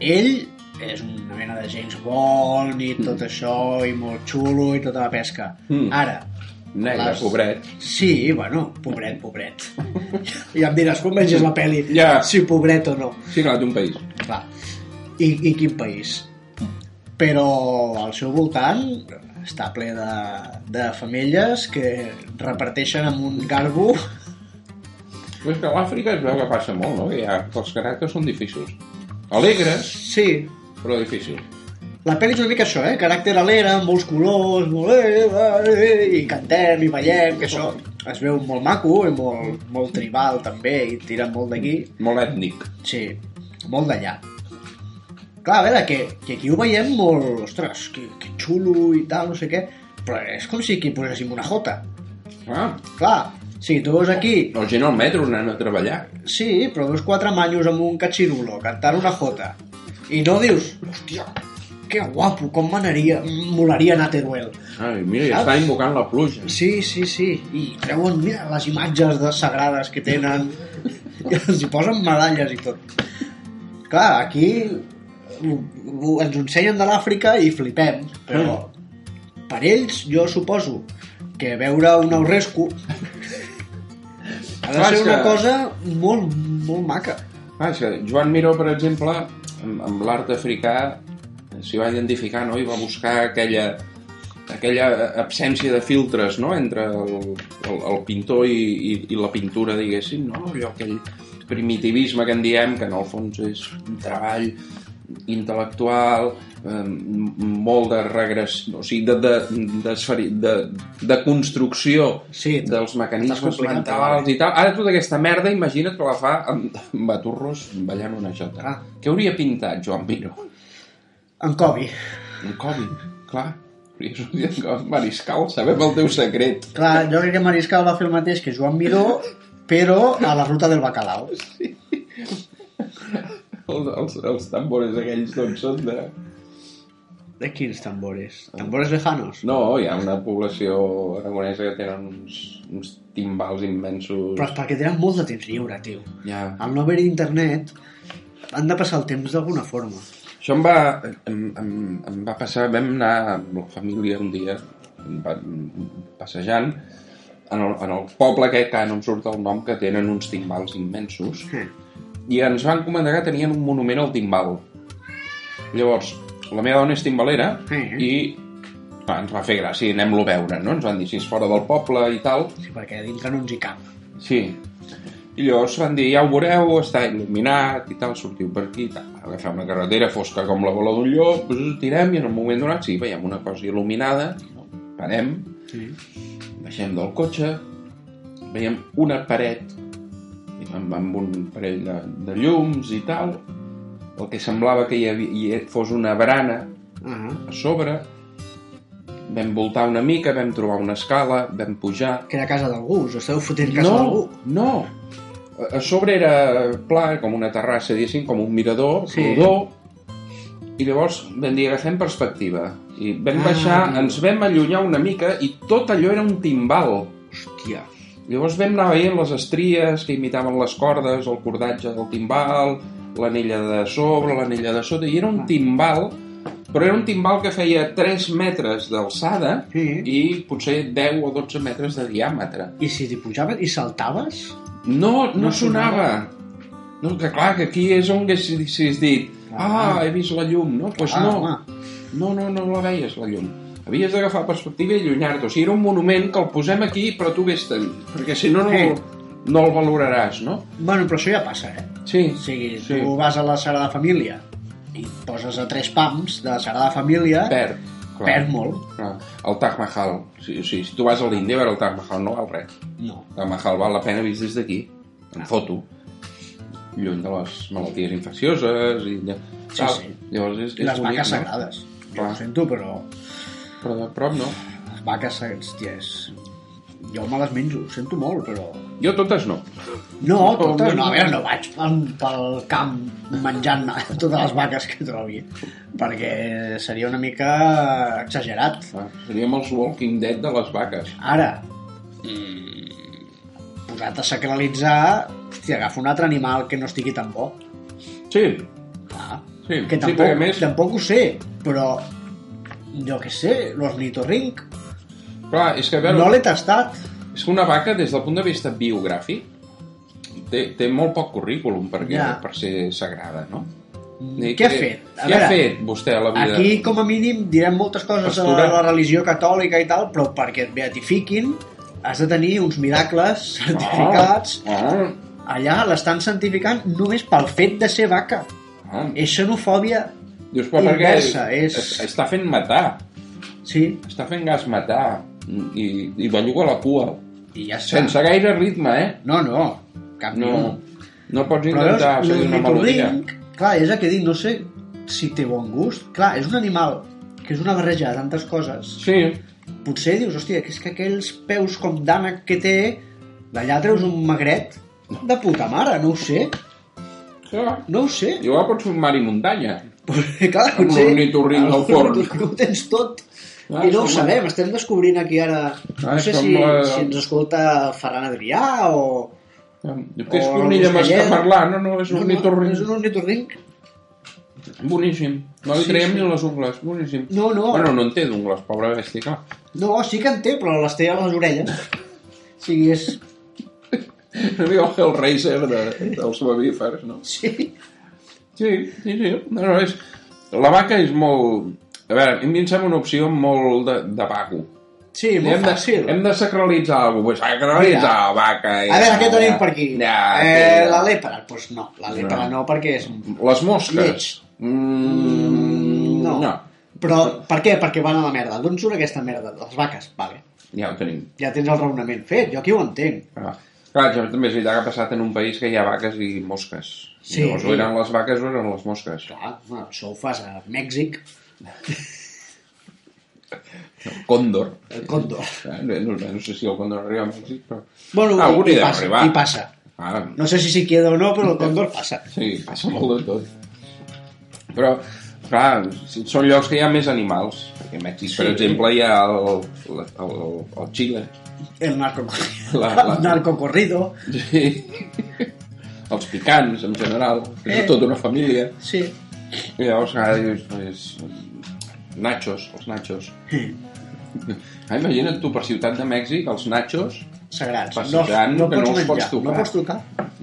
[SPEAKER 3] ell és una mena de James Bond i tot això, i molt xulo, i tota la pesca.
[SPEAKER 1] Mm.
[SPEAKER 3] Ara,
[SPEAKER 1] Negre,
[SPEAKER 3] Les-
[SPEAKER 1] pobret.
[SPEAKER 3] Sí, bueno, pobret, pobret. *laughs* Ja em diràs quan vegis la pel·li,
[SPEAKER 1] Ja.
[SPEAKER 3] si pobret o no.
[SPEAKER 1] Sí, clar, d'un país.
[SPEAKER 3] Clar. I, I quin país? Però al seu voltant està ple de, de femelles que reparteixen amb un garbo.
[SPEAKER 1] Però és que a l'Àfrica es veu que passa molt, no? Que hi ha, els caràcters són difícils. Alegres,
[SPEAKER 3] Sí,
[SPEAKER 1] però difícils.
[SPEAKER 3] la pel·li és una mica això, eh? Caràcter alegre, amb molts colors, molt... eh, eh, eh, i cantem i ballem, que això es veu molt maco i molt, molt tribal també, i tira molt d'aquí.
[SPEAKER 1] Molt ètnic.
[SPEAKER 3] Sí, molt d'allà. Clar, a veure, que, que aquí ho veiem molt... Ostres, que, que xulo i tal, no sé què. Però és com si aquí poséssim una jota.
[SPEAKER 1] Ah,
[SPEAKER 3] Clar, sí, tu veus aquí...
[SPEAKER 1] la gent al metro anant a treballar.
[SPEAKER 3] Sí, però veus quatre manyos amb un catxirulo cantant una jota. I no dius... Hòstia, que guapo, com m'anaria... Molaria anar a Teruel.
[SPEAKER 1] Ai, mira, ja
[SPEAKER 3] Saps?
[SPEAKER 1] està invocant la pluja.
[SPEAKER 3] Sí, sí, sí. I treuen, mira, les imatges de sagrades que tenen. I els hi posen medalles i tot. Clar, aquí ho- ho- ens ho ensenyen de l'Àfrica i flipem. Però per ells, jo suposo que veure un aurresco ha de
[SPEAKER 1] Clar, és
[SPEAKER 3] ser una
[SPEAKER 1] que-
[SPEAKER 3] cosa molt, molt maca.
[SPEAKER 1] Ah, és que Joan Miró, per exemple, amb, amb l'art africà s'hi va identificar, no? I va buscar aquella, aquella absència de filtres, no? Entre el, el, el pintor i, i, i la pintura, diguéssim, no? Allò, aquell primitivisme que en diem, que en el fons és un treball intel·lectual, eh, molt de regressió, o sigui, de, de, de, esferi- de, de construcció
[SPEAKER 3] Sí,
[SPEAKER 1] dels mecanismes
[SPEAKER 3] Estàs complicat,
[SPEAKER 1] mentals i tal. Ara tota aquesta merda, imagina't que la fa amb, amb baturros ballant una jota.
[SPEAKER 3] Ah.
[SPEAKER 1] Què hauria pintat Joan Miró?
[SPEAKER 3] en Kobe.
[SPEAKER 1] Un Covid, clar. Hauria sortit en Covid. Mariscal, sabem el teu secret.
[SPEAKER 3] Clar, jo crec que Mariscal va fer el mateix que Joan Miró, però a la ruta del bacalao.
[SPEAKER 1] Els, els, els tambores aquells doncs són de...
[SPEAKER 3] De quins tambores? Tambores lejanos?
[SPEAKER 1] No, hi ha una població aragonesa que tenen uns, uns timbals immensos.
[SPEAKER 3] Però és perquè tenen molt de temps lliure, tio.
[SPEAKER 1] Ja.
[SPEAKER 3] Al no haver-hi internet, han de passar el temps d'alguna forma.
[SPEAKER 1] Això em va, em, em, em va passar, vam anar amb la família un dia va- passejant en el, en el poble aquest, que ara no em surt el nom, que tenen uns timbals immensos,
[SPEAKER 3] Sí.
[SPEAKER 1] i ens van comentar que tenien un monument al timbal. Llavors, la meva dona és timbalera
[SPEAKER 3] Sí.
[SPEAKER 1] i ah, ens va fer gràcia i anem-lo a veure, no? Ens van dir si és fora del poble i tal,
[SPEAKER 3] sí perquè a dintre no ens hi cap.
[SPEAKER 1] Sí. I llavors van dir, ja ho veureu, està il·luminat i tal, sortiu per aquí i tal. Agafem una carretera fosca com la bola d'un llop, doncs tirem i en un moment donat, sí, veiem una cosa il·luminada, no? parem,
[SPEAKER 3] Sí.
[SPEAKER 1] baixem del cotxe, veiem una paret amb, amb un parell de, de llums i tal, el que semblava que hi, havia, hi fos una brana
[SPEAKER 3] Ah,
[SPEAKER 1] a sobre, Vam voltar una mica, vam trobar una escala, vam pujar...
[SPEAKER 3] Que era casa d'algú, us esteu fotent casa d'algú.
[SPEAKER 1] No, no! A a sobre era pla, com una terrassa, diguéssim, com un mirador,
[SPEAKER 3] Sí.
[SPEAKER 1] sí. rodó, i llavors vam dir, agafem perspectiva. I vam
[SPEAKER 3] Ah.
[SPEAKER 1] baixar, ens vam allunyar una mica i tot allò era un timbal.
[SPEAKER 3] Hòstia.
[SPEAKER 1] Llavors vam anar veient les estries que imitaven les cordes, el cordatge del timbal, l'anella de sobre, l'anella de sota, i era
[SPEAKER 3] Ah.
[SPEAKER 1] un timbal, però era un timbal que feia 3 metres d'alçada
[SPEAKER 3] Sí. I,
[SPEAKER 1] i potser 10 o 12 metres de diàmetre.
[SPEAKER 3] I si t'hi pujaves i saltaves?
[SPEAKER 1] No, no,
[SPEAKER 3] No
[SPEAKER 1] sonava.
[SPEAKER 3] sonava.
[SPEAKER 1] No, que clar, que aquí és on haguessis dit ah,
[SPEAKER 3] Ah.
[SPEAKER 1] he vist la llum, no? Doncs pues
[SPEAKER 3] Ah,
[SPEAKER 1] no.
[SPEAKER 3] home.
[SPEAKER 1] No, no, no la veies, la llum. Havies d'agafar perspectiva i allunyar-te. O sigui, era un monument que el posem aquí, però tu vés-te'n, perquè si no, no,
[SPEAKER 3] Sí.
[SPEAKER 1] el- no el valoraràs, no?
[SPEAKER 3] Bueno, però això ja passa, eh?
[SPEAKER 1] Sí.
[SPEAKER 3] O sigui,
[SPEAKER 1] Sí.
[SPEAKER 3] sí. tu vas a la Sagrada Família i et poses a tres pams de la Sagrada Família,
[SPEAKER 1] Perd. Clar.
[SPEAKER 3] perd molt.
[SPEAKER 1] Clar. El Taj Mahal. Sí, o sigui, si tu vas a l'Índia a veure el Taj Mahal, no val res.
[SPEAKER 3] No.
[SPEAKER 1] El Taj Mahal val la pena vist des d'aquí,
[SPEAKER 3] Ah.
[SPEAKER 1] en foto. Lluny de les malalties infeccioses i...
[SPEAKER 3] Sí,
[SPEAKER 1] tal.
[SPEAKER 3] sí.
[SPEAKER 1] Llavors és,
[SPEAKER 3] I
[SPEAKER 1] és
[SPEAKER 3] les
[SPEAKER 1] bonic,
[SPEAKER 3] vaques
[SPEAKER 1] no?
[SPEAKER 3] sagrades. Jo
[SPEAKER 1] Clar.
[SPEAKER 3] ho sento, però
[SPEAKER 1] Però de prop no.
[SPEAKER 3] les vaques sagrades, hòstia, és... Jo me les menjo, ho sento molt, però...
[SPEAKER 1] Jo totes no.
[SPEAKER 3] No,
[SPEAKER 1] Com
[SPEAKER 3] totes,
[SPEAKER 1] no?
[SPEAKER 3] no, a veure, no vaig pel, pel camp menjant *laughs* totes les vaques que trobi, perquè seria una mica exagerat.
[SPEAKER 1] Ah, Seríem els Walking Dead de les vaques.
[SPEAKER 3] Ara, mm, posat a sacralitzar, hòstia, agafa un altre animal que no estigui tan bo.
[SPEAKER 1] Sí,
[SPEAKER 3] Clar.
[SPEAKER 1] sí.
[SPEAKER 3] Que
[SPEAKER 1] sí,
[SPEAKER 3] tampoc,
[SPEAKER 1] perquè
[SPEAKER 3] sí,
[SPEAKER 1] a més,
[SPEAKER 3] tampoc ho sé, però jo que sé, l'ornitorrinc
[SPEAKER 1] clar, és que a veure,
[SPEAKER 3] no l'he tastat.
[SPEAKER 1] És que una vaca, des del punt de vista biogràfic, té, té molt poc currículum perquè,
[SPEAKER 3] Ja. Mm.
[SPEAKER 1] per ser sagrada, no?
[SPEAKER 3] Què
[SPEAKER 1] Dic,
[SPEAKER 3] ha
[SPEAKER 1] eh,
[SPEAKER 3] fet? A
[SPEAKER 1] Què ha
[SPEAKER 3] veure,
[SPEAKER 1] fet vostè a la vida?
[SPEAKER 3] Aquí, com a mínim, direm moltes coses de la,
[SPEAKER 1] Pastura.
[SPEAKER 3] la religió catòlica i tal, però perquè et beatifiquin has de tenir uns miracles certificats.
[SPEAKER 1] Ah,
[SPEAKER 3] Allà l'estan santificant només pel fet de ser vaca.
[SPEAKER 1] ah.
[SPEAKER 3] És xenofòbia,
[SPEAKER 1] Dius, però per què?
[SPEAKER 3] inversa, és-
[SPEAKER 1] es- Està fent matar,
[SPEAKER 3] sí,
[SPEAKER 1] està fent gas matar i, i belluga la cua,
[SPEAKER 3] i ja està.
[SPEAKER 1] sense gaire ritme, eh?
[SPEAKER 3] No, no, cap
[SPEAKER 1] No,
[SPEAKER 3] ni un.
[SPEAKER 1] no pots
[SPEAKER 3] Però
[SPEAKER 1] intentar
[SPEAKER 3] veus,
[SPEAKER 1] fer una melodia.
[SPEAKER 3] l'ornitorrinc, clar, és el que dic, no sé si té bon gust. Clar, és un animal que és una barreja de tantes coses.
[SPEAKER 1] Sí,
[SPEAKER 3] Potser dius, hòstia, que és que aquells peus com d'ànec que té, d'allà treus un magret de puta mare, no ho sé,
[SPEAKER 1] clar.
[SPEAKER 3] no ho sé.
[SPEAKER 1] Igual pots fer un mar i muntanya.
[SPEAKER 3] Perquè, clar,
[SPEAKER 1] Amb l'ornitorrinc al forn.
[SPEAKER 3] Ho tens tot.
[SPEAKER 1] Ah,
[SPEAKER 3] I no ho
[SPEAKER 1] és com-
[SPEAKER 3] sabem, estem descobrint aquí ara...
[SPEAKER 1] Ah,
[SPEAKER 3] No
[SPEAKER 1] és
[SPEAKER 3] sé
[SPEAKER 1] com
[SPEAKER 3] si,
[SPEAKER 1] la-
[SPEAKER 3] si ens escolta Ferran Adrià o...
[SPEAKER 1] Diu, que és
[SPEAKER 3] O
[SPEAKER 1] cornilla m'està
[SPEAKER 3] l'ornitorrinc.
[SPEAKER 1] parlant? No, no, és
[SPEAKER 3] No, no,
[SPEAKER 1] ornitorrinc.
[SPEAKER 3] És un ornitorrinc
[SPEAKER 1] Boníssim. No li
[SPEAKER 3] Sí,
[SPEAKER 1] traiem
[SPEAKER 3] sí.
[SPEAKER 1] ni les ungles. Boníssim.
[SPEAKER 3] No, no.
[SPEAKER 1] Bueno, no en té d'ungles, pobra bèstia, clar. *laughs*
[SPEAKER 3] No, sí que en té, però les té a les orelles. O sigui, és...
[SPEAKER 1] Una mica el Hellraiser de, dels mamífers, no?
[SPEAKER 3] Sí.
[SPEAKER 1] Sí, sí, sí. No, no, és... La vaca és molt... A veure, a mi em sembla una opció molt de, de vago.
[SPEAKER 3] Sí, molt
[SPEAKER 1] Hem de,
[SPEAKER 3] fàcil.
[SPEAKER 1] hem de sacralitzar alguna cosa. Sacralitzar
[SPEAKER 3] Mira.
[SPEAKER 1] la vaca.
[SPEAKER 3] A veure, què tenim per aquí?
[SPEAKER 1] Ja,
[SPEAKER 3] eh,
[SPEAKER 1] sí.
[SPEAKER 3] la lèpera? Doncs pues no, la lèpera no, perquè és...
[SPEAKER 1] Les mosques.
[SPEAKER 3] Lleig.
[SPEAKER 1] Mm, no. no.
[SPEAKER 3] Però per què? Perquè van a la merda. D'on surt aquesta merda? De les vaques, vale.
[SPEAKER 1] Ja ho tenim.
[SPEAKER 3] Ja tens el raonament fet, jo aquí ho entenc.
[SPEAKER 1] Ah. Clar, això també és veritat que ha passat en un país que hi ha vaques i mosques.
[SPEAKER 3] Sí.
[SPEAKER 1] Llavors, o eren les vaques o eren les mosques.
[SPEAKER 3] Clar, bueno, això ho fas a Mèxic,
[SPEAKER 1] Còndor.
[SPEAKER 3] el còndor.
[SPEAKER 1] Ah, No, no, no sé si el còndor arriba a Mèxic, però...
[SPEAKER 3] Bueno,
[SPEAKER 1] Ah, algun
[SPEAKER 3] i,
[SPEAKER 1] hi deu
[SPEAKER 3] passa,
[SPEAKER 1] arribar.
[SPEAKER 3] i passa.
[SPEAKER 1] Ah,
[SPEAKER 3] No sé si s'hi queda o no, però el còndor passa.
[SPEAKER 1] sí, passa molt de tot. Però, clar, si- són llocs que hi ha més animals. Perquè a Mèxic, per
[SPEAKER 3] Sí.
[SPEAKER 1] exemple, hi ha el, el, el, el Xile.
[SPEAKER 3] El narcocorrido.
[SPEAKER 1] *laughs* La- la-
[SPEAKER 3] El narcocorrido,
[SPEAKER 1] Sí. Els picants, en general. que
[SPEAKER 3] Eh.
[SPEAKER 1] És tota una família.
[SPEAKER 3] sí.
[SPEAKER 1] I llavors, ara dius, pues, nachos, els nachos. Ah, imagina't tu per Ciutat de Mèxic, els nachos,
[SPEAKER 3] Sagrats.
[SPEAKER 1] Passejant, que no els pots tocar.
[SPEAKER 3] No pots tocar.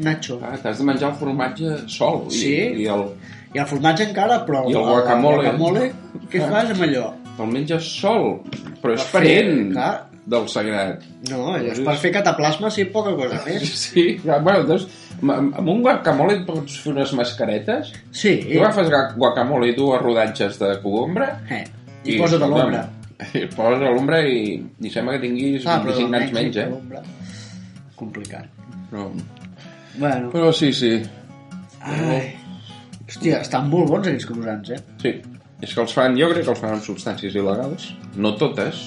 [SPEAKER 3] Nacho.
[SPEAKER 1] ah, t'has de menjar el formatge sol.
[SPEAKER 3] Sí.
[SPEAKER 1] I, i el,
[SPEAKER 3] I el formatge encara, però...
[SPEAKER 1] I el guacamole. Ah.
[SPEAKER 3] El guacamole, què
[SPEAKER 1] Clar.
[SPEAKER 3] fas amb allò?
[SPEAKER 1] el menges sol, però és
[SPEAKER 3] Per fer,
[SPEAKER 1] parent
[SPEAKER 3] clar.
[SPEAKER 1] del sagrat.
[SPEAKER 3] No, allò és per fer cataplasma, sí, poca cosa més.
[SPEAKER 1] Sí, ja, bueno, doncs, amb- amb un guacamole et pots fer unes mascaretes?
[SPEAKER 3] Sí.
[SPEAKER 1] I tu agafes ga- guacamole i dues rodatges de cogombre?
[SPEAKER 3] Eh. I posa't a l'ombra.
[SPEAKER 1] *laughs* I posa't a l'ombra i, i sembla que tinguis
[SPEAKER 3] Ah,
[SPEAKER 1] ah,
[SPEAKER 3] però
[SPEAKER 1] 25 anys
[SPEAKER 3] Mèxic,
[SPEAKER 1] menys, eh?
[SPEAKER 3] l'ombra. Complicat.
[SPEAKER 1] Però,
[SPEAKER 3] Bueno,
[SPEAKER 1] però sí, sí.
[SPEAKER 3] ai... Hòstia, estan molt bons aquests croissants, eh?
[SPEAKER 1] Sí. És que els fan, jo crec que els fan amb substàncies il·legals, no totes,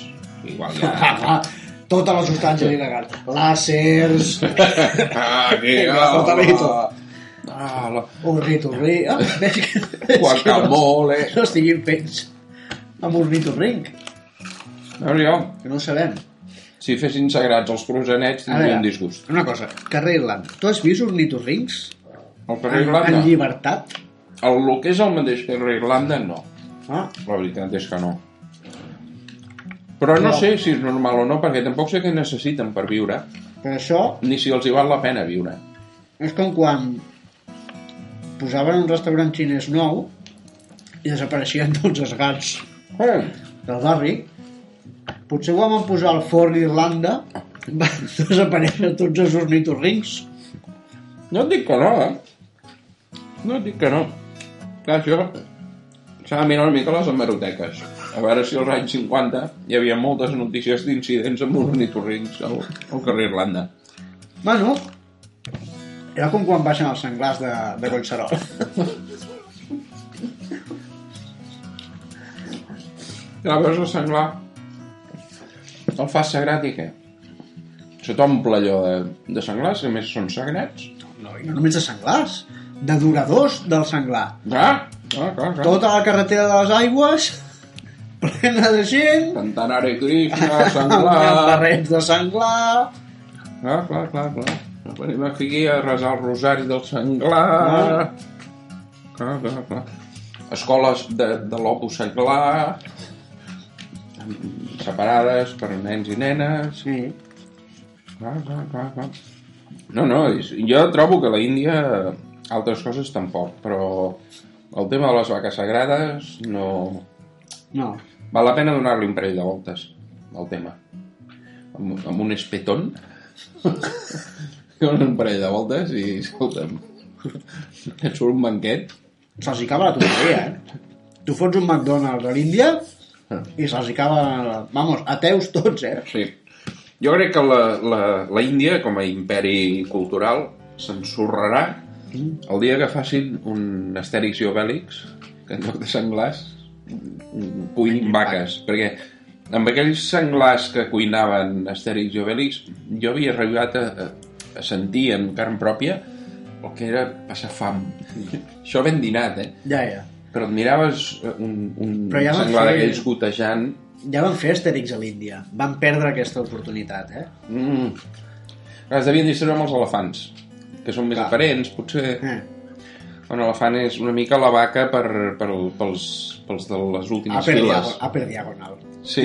[SPEAKER 1] igual hi
[SPEAKER 3] *laughs*
[SPEAKER 1] ha...
[SPEAKER 3] Ah, tota la substància il·legal.
[SPEAKER 1] *laughs*
[SPEAKER 3] Làsers,
[SPEAKER 1] Ah, que,
[SPEAKER 3] La Totalito.
[SPEAKER 1] Ah,
[SPEAKER 3] *laughs*
[SPEAKER 1] la...
[SPEAKER 3] ornitorrinc... Ah, veig que...
[SPEAKER 1] Guacamole.
[SPEAKER 3] Que no, no estiguin fets amb ornitorrinc,
[SPEAKER 1] A veure jo,
[SPEAKER 3] que no ho sabem.
[SPEAKER 1] si fessin sagrats els croissanets
[SPEAKER 3] A veure,
[SPEAKER 1] tindria un disgust.
[SPEAKER 3] Una cosa, carrer Irlanda. Tu has vist ornitorrincs?
[SPEAKER 1] El carrer
[SPEAKER 3] En, en
[SPEAKER 1] Irlanda,
[SPEAKER 3] llibertat?
[SPEAKER 1] el, el que és el mateix carrer Irlanda, no.
[SPEAKER 3] Ah,
[SPEAKER 1] La veritat és que no. Però no
[SPEAKER 3] Però-
[SPEAKER 1] sé si és normal o no, perquè tampoc sé què necessiten per viure,
[SPEAKER 3] però això
[SPEAKER 1] ni si els hi val la pena viure.
[SPEAKER 3] És com quan posaven un restaurant xinès nou i desapareixien *laughs* tots els gats
[SPEAKER 1] Eh,
[SPEAKER 3] del barri. Potser quan van posar el forn a Irlanda *laughs* van desaparèixer tots els ornitorrincs.
[SPEAKER 1] no et dic que no, eh? No et dic que no. Clar, això s'ha de mirar una mica les hemeroteques. A veure si als anys 50 hi havia moltes notícies d'incidents amb ornitorrincs al, al carrer Irlanda.
[SPEAKER 3] Bueno, era com quan baixen els senglars de, de Collserol.
[SPEAKER 1] Ja veus el senglar? El fas sagrat i què? Se t'omple allò de, de senglars, que a més són sagrats.
[SPEAKER 3] No, i no només de senglars, de duradors del senglar.
[SPEAKER 1] Ah, ah, clar, clar.
[SPEAKER 3] Tota la carretera de les aigües plena de gent
[SPEAKER 1] Centenari Krishna,
[SPEAKER 3] *laughs* amb
[SPEAKER 1] senglar...
[SPEAKER 3] barrets de senglar
[SPEAKER 1] Ah, clar, clar, clar. Venim aquí a resar el rosari del senglar... Clar, clar, clar. Escoles de, de l'opus senglar... Separades per nens i nenes...
[SPEAKER 3] sí.
[SPEAKER 1] Clar, clar, clar, clar. No, no, és- jo trobo que la Índia altres coses tampoc, però el tema de les vaques sagrades no...
[SPEAKER 3] no,
[SPEAKER 1] Val la pena donar-li un parell de voltes al tema. Amb, amb un espetón. *laughs* Dones un parell de voltes i, escolta'm, *laughs* et surt un banquet.
[SPEAKER 3] se'ls hi acaba la tonteria, eh? Tu fots un McDonald's a l'Índia i se'ls hi acaba... Vamos, ateus tots, eh?
[SPEAKER 1] Sí. Jo crec que la, la, la Índia, com a imperi cultural, s'ensorrarà
[SPEAKER 3] Mm.
[SPEAKER 1] el dia que facin un Astèrix i Obèlix, que en lloc de senglars mm, cuinin vaques, perquè amb aquells senglars que cuinaven Astèrix i Obèlix, jo havia arribat a, a- a sentir en carn pròpia el que era passar fam. *laughs* Això ben dinat, eh?
[SPEAKER 3] Ja, ja.
[SPEAKER 1] Però et miraves eh, un, un
[SPEAKER 3] Però ja van
[SPEAKER 1] senglar
[SPEAKER 3] fer-
[SPEAKER 1] d'aquells gotejant
[SPEAKER 3] Ja van fer Astèrix a l'Índia. Van perdre aquesta oportunitat, eh?
[SPEAKER 1] Mm. Es devien distreure amb els elefants, que són més
[SPEAKER 3] Clar.
[SPEAKER 1] aparents, potser.
[SPEAKER 3] eh?
[SPEAKER 1] Un elefant és una mica la vaca per, per, pels, pels de les últimes
[SPEAKER 3] Upper,
[SPEAKER 1] files.
[SPEAKER 3] diago upper diagonal.
[SPEAKER 1] Sí,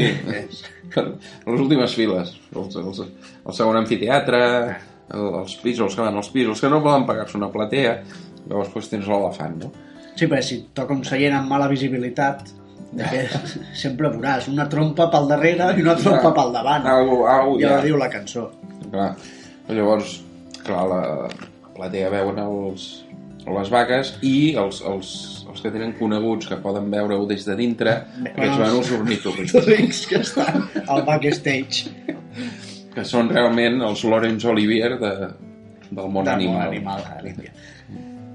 [SPEAKER 1] *laughs* per les últimes files. Els, els, el segon amfiteatre, el, els pisos, els que van als pisos, els que no poden pagar-se una platea. Llavors doncs, tens l'elefant, no?
[SPEAKER 3] Sí, perquè si toca un seient amb mala visibilitat, eh, sempre veuràs una trompa pel darrere i una trompa pel davant.
[SPEAKER 1] Algú, algú,
[SPEAKER 3] Ja la diu la cançó.
[SPEAKER 1] Clar. Llavors, clar, la, la platea veuen els, les vaques i els, els, els que tenen coneguts, que poden veure-ho des de dintre,
[SPEAKER 3] Bé,
[SPEAKER 1] que es
[SPEAKER 3] doncs.
[SPEAKER 1] van els ornitorrincs,
[SPEAKER 3] Astèrix que estan al backstage
[SPEAKER 1] que són realment els Laurence Olivier de, del món
[SPEAKER 3] del món
[SPEAKER 1] animal.
[SPEAKER 3] animal a l'Índia.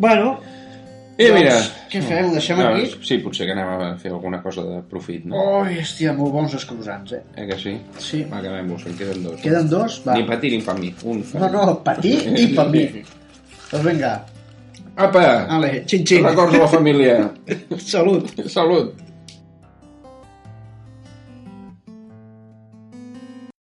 [SPEAKER 3] Bueno, doncs,
[SPEAKER 1] I mira...
[SPEAKER 3] què fem? Ho deixem aquí?
[SPEAKER 1] doncs, sí, potser que anem a fer alguna cosa de profit, no?
[SPEAKER 3] Ui, hòstia, molt bons els croissants, eh?
[SPEAKER 1] Eh que sí?
[SPEAKER 3] Sí.
[SPEAKER 1] Va, acabem-vos, en queden dos.
[SPEAKER 3] Queden dos? Va.
[SPEAKER 1] Ni per ti ni per mi. Un.
[SPEAKER 3] No, no, per ti i per mi. Doncs vinga,
[SPEAKER 1] Apa!
[SPEAKER 3] Ah, ale, xin, xin.
[SPEAKER 1] Records a la família.
[SPEAKER 3] *laughs* Salut.
[SPEAKER 1] Salut!